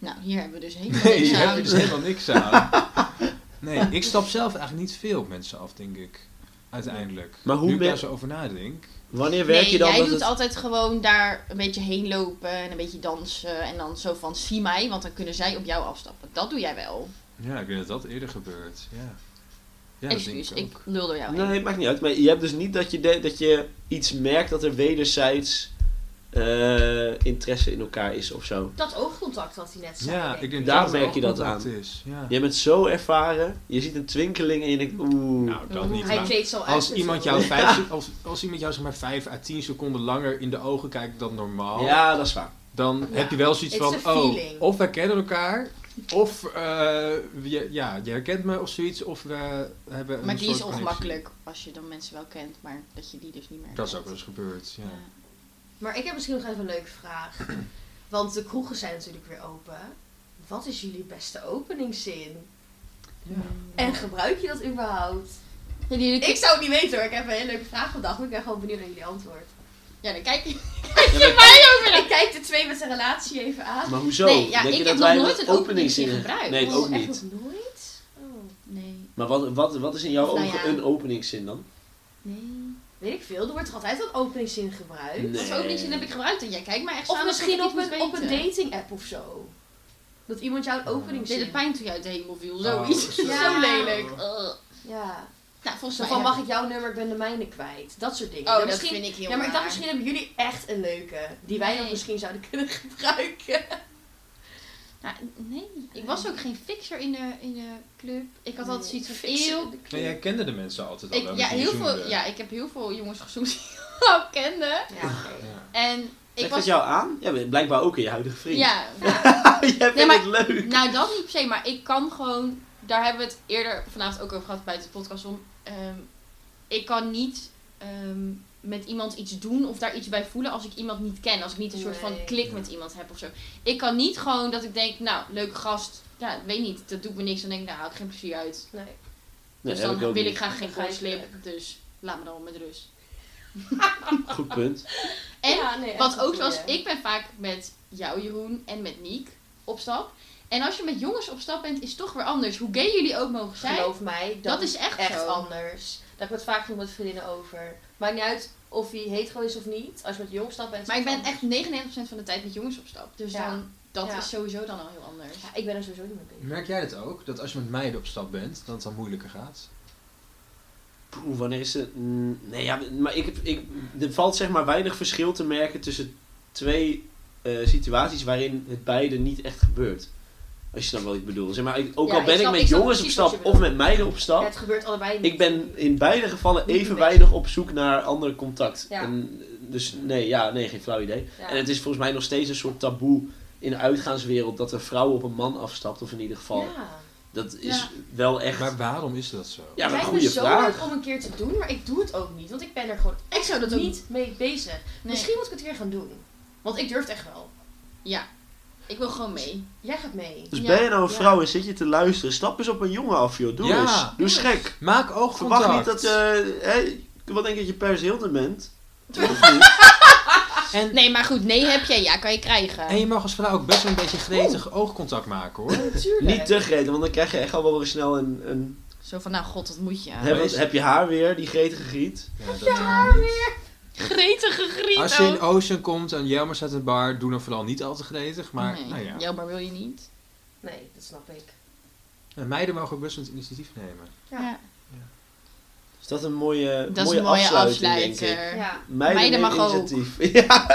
Speaker 3: Nou, hier hebben we dus helemaal
Speaker 1: Nee,
Speaker 3: niks
Speaker 1: daar heb
Speaker 3: aan.
Speaker 1: je dus helemaal niks aan. Nee, ik stap zelf eigenlijk niet veel op mensen af, denk ik. Uiteindelijk.
Speaker 2: Maar hoe
Speaker 1: nu ik
Speaker 2: ben-
Speaker 1: daar zo over nadenk.
Speaker 2: Wanneer werk
Speaker 3: Nee,
Speaker 2: je dan
Speaker 3: jij
Speaker 2: dat
Speaker 3: doet
Speaker 2: het...
Speaker 3: altijd gewoon daar een beetje heen lopen en een beetje dansen. En dan zo van, zie mij, want dan kunnen zij op jou afstappen. Dat doe jij wel.
Speaker 1: Ja, ik weet dat dat eerder gebeurt. Ja, ja dat denk
Speaker 3: Excuus,
Speaker 1: ik
Speaker 3: ik
Speaker 1: ook.
Speaker 3: lul door jou heen.
Speaker 2: Nee, het maakt niet uit. Maar je hebt dus niet dat je, de- dat je iets merkt dat er wederzijds eh, interesse in elkaar is of zo.
Speaker 4: Dat oogcontact wat hij net zei.
Speaker 1: Ja, ik denk
Speaker 2: Daar
Speaker 1: dat het
Speaker 2: merk je
Speaker 1: ook
Speaker 2: dat
Speaker 1: contact
Speaker 2: aan.
Speaker 1: Is. Ja.
Speaker 2: Jij bent zo ervaren, je ziet een twinkeling en je denkt, oeh.
Speaker 1: Nou, dat niet.
Speaker 4: Hij
Speaker 1: maar
Speaker 4: kleedt zo uit.
Speaker 1: Als
Speaker 4: met
Speaker 1: iemand,
Speaker 4: zo'n-
Speaker 1: jou vijf, als, als iemand jou zeg maar 5 à 10 seconden langer in de ogen kijkt dan normaal,
Speaker 2: ja, dat is waar.
Speaker 1: dan
Speaker 4: Ja.
Speaker 1: heb je wel zoiets
Speaker 4: It's
Speaker 1: van:
Speaker 4: a
Speaker 1: oh,
Speaker 4: feeling.
Speaker 1: of wij kennen elkaar, of eh, je, ja, je herkent me of zoiets, of we hebben. een
Speaker 3: Maar die is
Speaker 1: soort connectie.
Speaker 3: ongemakkelijk als je dan mensen wel kent, maar dat je die dus niet meer
Speaker 1: Dat is ook
Speaker 3: herkent.
Speaker 1: wel eens gebeurd. Ja.
Speaker 3: Ja.
Speaker 4: Maar ik heb misschien nog even een leuke vraag. Want de kroegen zijn natuurlijk weer open. Wat is jullie beste openingszin? En gebruik je dat überhaupt?
Speaker 3: Ja, die- die-
Speaker 4: Ik zou het niet weten hoor. Ik heb een hele leuke vraag vandaag. Maar ik ben gewoon benieuwd naar jullie antwoord.
Speaker 3: ja, dan kijk je.
Speaker 2: Ja, maar,
Speaker 4: Ik kijk de twee met zijn relatie even aan.
Speaker 2: maar hoezo?
Speaker 3: Ah, Nee, ja,
Speaker 2: Denk
Speaker 3: ik
Speaker 2: je
Speaker 3: heb
Speaker 2: dat
Speaker 3: nog
Speaker 2: wij
Speaker 3: nooit een
Speaker 2: openingszin
Speaker 3: openingszin gebruikt.
Speaker 2: Nee,
Speaker 3: Oh,
Speaker 2: ook
Speaker 4: echt
Speaker 2: niet.
Speaker 4: nog nooit? Oh.
Speaker 3: Nee,
Speaker 2: Maar wat, wat, wat is in jouw
Speaker 3: Nou
Speaker 2: ogen
Speaker 3: ja.
Speaker 2: een openingszin dan?
Speaker 3: nee.
Speaker 4: Weet ik veel. Er wordt toch altijd een openingszin gebruikt?
Speaker 2: Nee.
Speaker 3: Dat is ook niet zin heb ik gebruikt en jij kijkt maar echt
Speaker 4: Of
Speaker 3: aan alsof
Speaker 4: misschien
Speaker 3: ik
Speaker 4: op
Speaker 3: iets
Speaker 4: een,
Speaker 3: moet
Speaker 4: op een
Speaker 3: weten.
Speaker 4: dating app of zo. Dat iemand jou
Speaker 3: Ik
Speaker 4: een
Speaker 3: deed
Speaker 4: openingszin...
Speaker 3: het pijn toen je uit de hemel viel,
Speaker 1: Oh,
Speaker 3: zoiets.
Speaker 1: zo.
Speaker 4: Ja.
Speaker 3: Zo lelijk. Ugh.
Speaker 4: Ja.
Speaker 3: Nou, volgens
Speaker 4: Zo
Speaker 3: mij
Speaker 4: van,
Speaker 3: heb
Speaker 4: mag ik jouw nummer, ik ben de mijne kwijt. Dat soort dingen.
Speaker 3: Oh,
Speaker 4: Ja,
Speaker 3: dat
Speaker 4: misschien-
Speaker 3: vind ik heel
Speaker 4: Ja, maar ik dacht
Speaker 3: raar.
Speaker 4: misschien hebben jullie echt een leuke. Die wij dan
Speaker 3: Nee.
Speaker 4: misschien zouden kunnen gebruiken.
Speaker 3: Nou, nee, ik was ook geen fixer in de, in de club. Ik had altijd
Speaker 4: Nee.
Speaker 3: zoiets van eeuw.
Speaker 1: Nee, jij kende de mensen altijd al. wel,
Speaker 3: Ik,
Speaker 1: met
Speaker 3: ja,
Speaker 1: wie je
Speaker 3: heel veel,
Speaker 1: zoende.
Speaker 3: ja, ik heb heel veel jongens gezoend die ik al kende.
Speaker 4: Ja, oké.
Speaker 1: Ja.
Speaker 3: En ik
Speaker 2: Trekt
Speaker 3: was...
Speaker 2: dat jou aan? Ja, maar blijkbaar ook in je huidige vriend.
Speaker 3: Ja,
Speaker 2: Jij vindt
Speaker 3: maar-
Speaker 2: het leuk.
Speaker 3: nou dat niet per se, maar ik kan gewoon... Daar hebben we het eerder vanavond ook over gehad buiten de podcast om. ehm, ik kan niet ehm, met iemand iets doen of daar iets bij voelen als ik iemand niet ken. Als ik niet een soort van
Speaker 4: Nee.
Speaker 3: klik met iemand heb of zo. Ik kan niet gewoon dat ik denk, nou, leuke gast. Ja, ik weet niet, dat doet me niks. Dan denk ik, nou, haal ik geen plezier uit.
Speaker 4: Nee.
Speaker 2: Nee,
Speaker 3: dus
Speaker 2: heb
Speaker 3: dan
Speaker 2: ik ook
Speaker 3: wil ik
Speaker 2: niet.
Speaker 3: graag geen
Speaker 4: Begrijp
Speaker 3: gouden slip.
Speaker 4: ik.
Speaker 3: Dus laat me dan met rust.
Speaker 2: Goed punt.
Speaker 3: En
Speaker 4: Ja, nee, echt
Speaker 3: wat
Speaker 4: een
Speaker 3: ook was,
Speaker 4: goeie.
Speaker 3: ik ben vaak met jou, Jeroen, en met Niek op stap. En als je met jongens op stap bent, is het toch weer anders. Hoe gay jullie ook mogen zijn,
Speaker 4: Geloof mij, dat,
Speaker 3: dat is echt,
Speaker 4: echt
Speaker 3: zo.
Speaker 4: anders. Daar heb ik het vaak genoeg met vriendinnen over. Maakt niet uit of hij hetero is of niet. Als je met jongens stapt bent. is
Speaker 3: Maar ik
Speaker 4: het
Speaker 3: ben
Speaker 4: anders.
Speaker 3: echt 99% van de tijd met jongens op stap. Dus
Speaker 4: Ja.
Speaker 3: dan, dat
Speaker 4: Ja.
Speaker 3: is sowieso dan al heel anders.
Speaker 4: Ja, ik ben er sowieso niet mee bezig.
Speaker 1: Merk jij dat ook? Dat als je met meiden op stap bent, dat het dan moeilijker gaat?
Speaker 2: Poeh, wanneer is het? Mm, Nee, ja, maar ik, heb- ik, er valt zeg maar weinig verschil te merken tussen twee eh, situaties waarin het beide niet echt gebeurt. Als je dan wat ik bedoel. Zeg maar, ik- ook
Speaker 4: Ja,
Speaker 2: al
Speaker 4: ik
Speaker 2: ben ik,
Speaker 4: snap-
Speaker 2: met
Speaker 4: ik snap
Speaker 2: jongens op
Speaker 4: precies wat
Speaker 2: stap
Speaker 4: je
Speaker 2: of
Speaker 4: bedoelt.
Speaker 2: met meiden op
Speaker 4: Ja,
Speaker 2: stap,
Speaker 4: het gebeurt allebei niet.
Speaker 2: ik ben in beide gevallen
Speaker 4: Niet
Speaker 2: evenwijdig op zoek naar ander contact.
Speaker 4: Ja.
Speaker 2: En, dus nee, ja, nee, geen flauw idee.
Speaker 4: Ja.
Speaker 2: En het is volgens mij nog steeds een soort taboe in de uitgaanswereld dat een vrouw op een man afstapt, of in ieder geval.
Speaker 4: Ja.
Speaker 2: Dat is
Speaker 3: Ja.
Speaker 2: wel echt.
Speaker 1: Maar waarom is dat zo?
Speaker 2: ja, maar
Speaker 4: het
Speaker 2: een
Speaker 4: lijkt me
Speaker 2: goede
Speaker 4: zo
Speaker 2: vraag.
Speaker 4: leuk om een keer te doen, maar ik doe het ook niet. Want ik ben er gewoon
Speaker 3: Ik zou dat ook
Speaker 4: niet mee bezig.
Speaker 3: Nee.
Speaker 4: Misschien moet ik het weer gaan doen. Want ik durf het echt wel.
Speaker 3: Ja, ik wil gewoon mee.
Speaker 4: Jij gaat mee.
Speaker 2: Dus
Speaker 3: Ja.
Speaker 2: ben je nou een
Speaker 4: Ja.
Speaker 2: vrouw en zit je te luisteren, stap eens op een jongen af, joh. Doe
Speaker 1: Ja.
Speaker 2: eens. Doe eens gek.
Speaker 1: Maak oogcontact.
Speaker 2: Verwacht niet dat eh, je... hè, wat denk je dat je Paris Hilton bent? Of niet?
Speaker 1: en,
Speaker 3: Nee, maar goed, nee heb je, ja kan je krijgen.
Speaker 1: en je mag als vrouw ook best wel een beetje gretig oogcontact maken hoor.
Speaker 4: Natuurlijk.
Speaker 2: niet te gretig, want dan krijg je echt al wel weer snel een... een
Speaker 3: Zo van, nou god, dat moet je.
Speaker 2: heb,
Speaker 1: wees-
Speaker 2: heb je haar weer, die gretige griet?
Speaker 1: Ja, dat doen we niet.
Speaker 3: Gretige grieto.
Speaker 1: Als je in Ocean komt en Jelmer staat in de bar, doe dan vooral niet al te gretig. Maar
Speaker 3: nee.
Speaker 1: nou ja.
Speaker 3: Ja, maar wil je niet?
Speaker 4: Nee, dat snap ik.
Speaker 1: En Eh, meiden mogen ook best wel het initiatief nemen.
Speaker 4: Ja.
Speaker 2: Is dat een mooie,
Speaker 3: Dat is
Speaker 2: mooie,
Speaker 3: een mooie
Speaker 2: afsluiting, denk ik.
Speaker 3: afsluiter.
Speaker 4: Ja.
Speaker 2: Meiden,
Speaker 3: Meiden
Speaker 2: nemen
Speaker 3: mag ook.
Speaker 2: initiatief. Ja.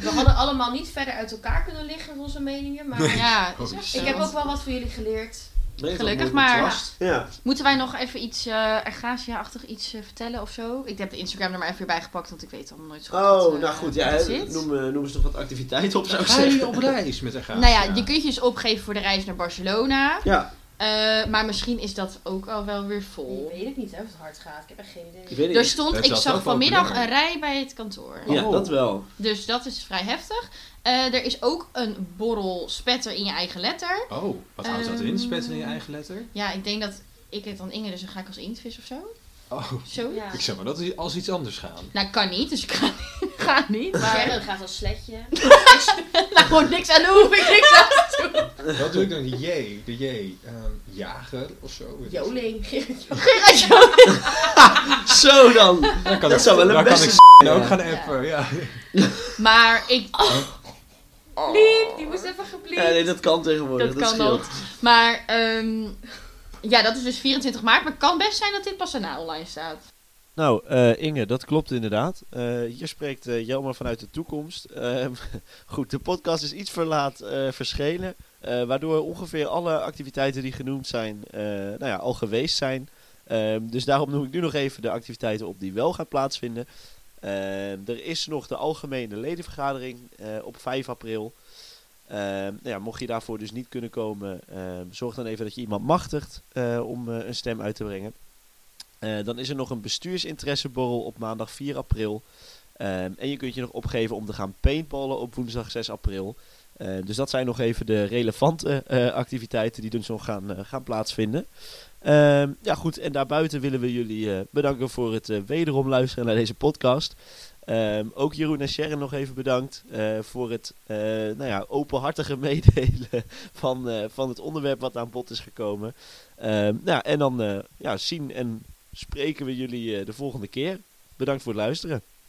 Speaker 4: We hadden allemaal niet verder uit elkaar kunnen liggen in onze meningen. Maar
Speaker 3: Ja,
Speaker 1: Oh,
Speaker 3: is echt
Speaker 1: shit.
Speaker 3: zo.
Speaker 4: ik heb ook wel wat van jullie geleerd.
Speaker 2: Brengt wel
Speaker 3: Gelukkig
Speaker 2: een mooi
Speaker 3: maar.
Speaker 2: contrast. Ja.
Speaker 3: Moeten wij nog even iets eh Ergasia-achtig iets eh, vertellen of zo? Ik heb de Instagram er maar even weer bij gepakt, want ik weet allemaal nooit zo goed.
Speaker 2: Oh,
Speaker 3: eh,
Speaker 2: nou goed.
Speaker 3: wat
Speaker 2: Ja, hè,
Speaker 3: het zit.
Speaker 2: noem, eh, noem eens nog wat activiteit op, zou ik
Speaker 1: Ga je
Speaker 2: zeggen.
Speaker 1: op reis met een gaaf?
Speaker 3: Nou ja, je kunt je dus opgeven voor de reis naar Barcelona.
Speaker 2: Ja,
Speaker 3: Eh, maar misschien is dat ook al wel weer
Speaker 4: Ik
Speaker 3: vol.
Speaker 4: weet ik niet hè, of het hard gaat. Ik heb echt geen idee.
Speaker 2: ik weet
Speaker 3: Er
Speaker 2: niet.
Speaker 1: Het
Speaker 3: stond, ik
Speaker 1: zat ook
Speaker 3: zag
Speaker 1: wel
Speaker 3: vanmiddag
Speaker 1: benauwd.
Speaker 3: een rij bij het kantoor.
Speaker 2: Ja,
Speaker 1: Oh.
Speaker 2: dat wel.
Speaker 3: Dus dat is vrij heftig. Eh, er is ook een borrel spetter in je eigen letter.
Speaker 1: Oh, wat houdt dat in?
Speaker 3: Ehm,
Speaker 1: Spetteren in je eigen letter?
Speaker 3: Ja, ik denk dat ik het dan Inge, dus dan ga ik als inktvis of zo.
Speaker 1: Oh,
Speaker 3: zo.
Speaker 4: Ja.
Speaker 1: ik zou maar dat is als iets anders gaan.
Speaker 3: Nou, kan niet, Nou, dus ik ga, ga niet.
Speaker 4: Maar
Speaker 3: Maar
Speaker 4: Sharon gaat als sletje. gewoon niks aan doen, hoef ik niks aan te doen.
Speaker 1: Wat doe ik dan? J, de J. ehm jager of zo. weet ik.
Speaker 4: Joling.
Speaker 3: Gerard Joling.
Speaker 5: Zo dan.
Speaker 1: Dan kan
Speaker 5: Dat zou wel een
Speaker 1: dan
Speaker 5: beste
Speaker 1: kan ik
Speaker 5: zijn,
Speaker 1: ook
Speaker 5: ja.
Speaker 1: gaan appen. Ja.
Speaker 3: Maar ik...
Speaker 4: Bliep,
Speaker 2: Oh.
Speaker 4: die moest even gebliept.
Speaker 5: Ja, nee, dat kan tegenwoordig.
Speaker 3: Dat
Speaker 5: Dat,
Speaker 3: kan
Speaker 5: scheelt.
Speaker 3: nog. Maar ehm, ja, dat is dus 24 maart. Maar het kan best zijn dat dit pas daarna online staat.
Speaker 2: Nou, eh, Inge, dat klopt inderdaad. Eh, hier spreekt eh Jelmer vanuit de toekomst. Ehm, goed, de podcast is iets verlaat eh, verschenen. eh, waardoor ongeveer alle activiteiten die genoemd zijn, eh, nou ja, al geweest zijn. Ehm, dus daarom noem ik nu nog even de activiteiten op die wel gaan plaatsvinden. Ehm, er is nog de algemene ledenvergadering eh, op 5 april. Ehm, nou ja, mocht je daarvoor dus niet kunnen komen, ehm, zorg dan even dat je iemand machtigt eh, om eh, een stem uit te brengen. Eh, dan is er nog een bestuursinteresseborrel op maandag 4 april. Ehm, en je kunt je nog opgeven om te gaan paintballen op woensdag 6 april. Eh, dus dat zijn nog even de relevante eh, activiteiten die dus nog gaan, eh, gaan plaatsvinden. Ehm, ja goed, en daarbuiten willen we jullie eh, bedanken voor het eh, wederom luisteren naar deze podcast. Ehm, ook Jeroen en Sharon nog even bedankt eh, voor het eh, nou ja, openhartige meedelen van, eh, van het onderwerp wat aan bod is gekomen. Ehm, nou, ja, en dan eh, ja, zien en spreken we jullie eh, de volgende keer. Bedankt voor het luisteren.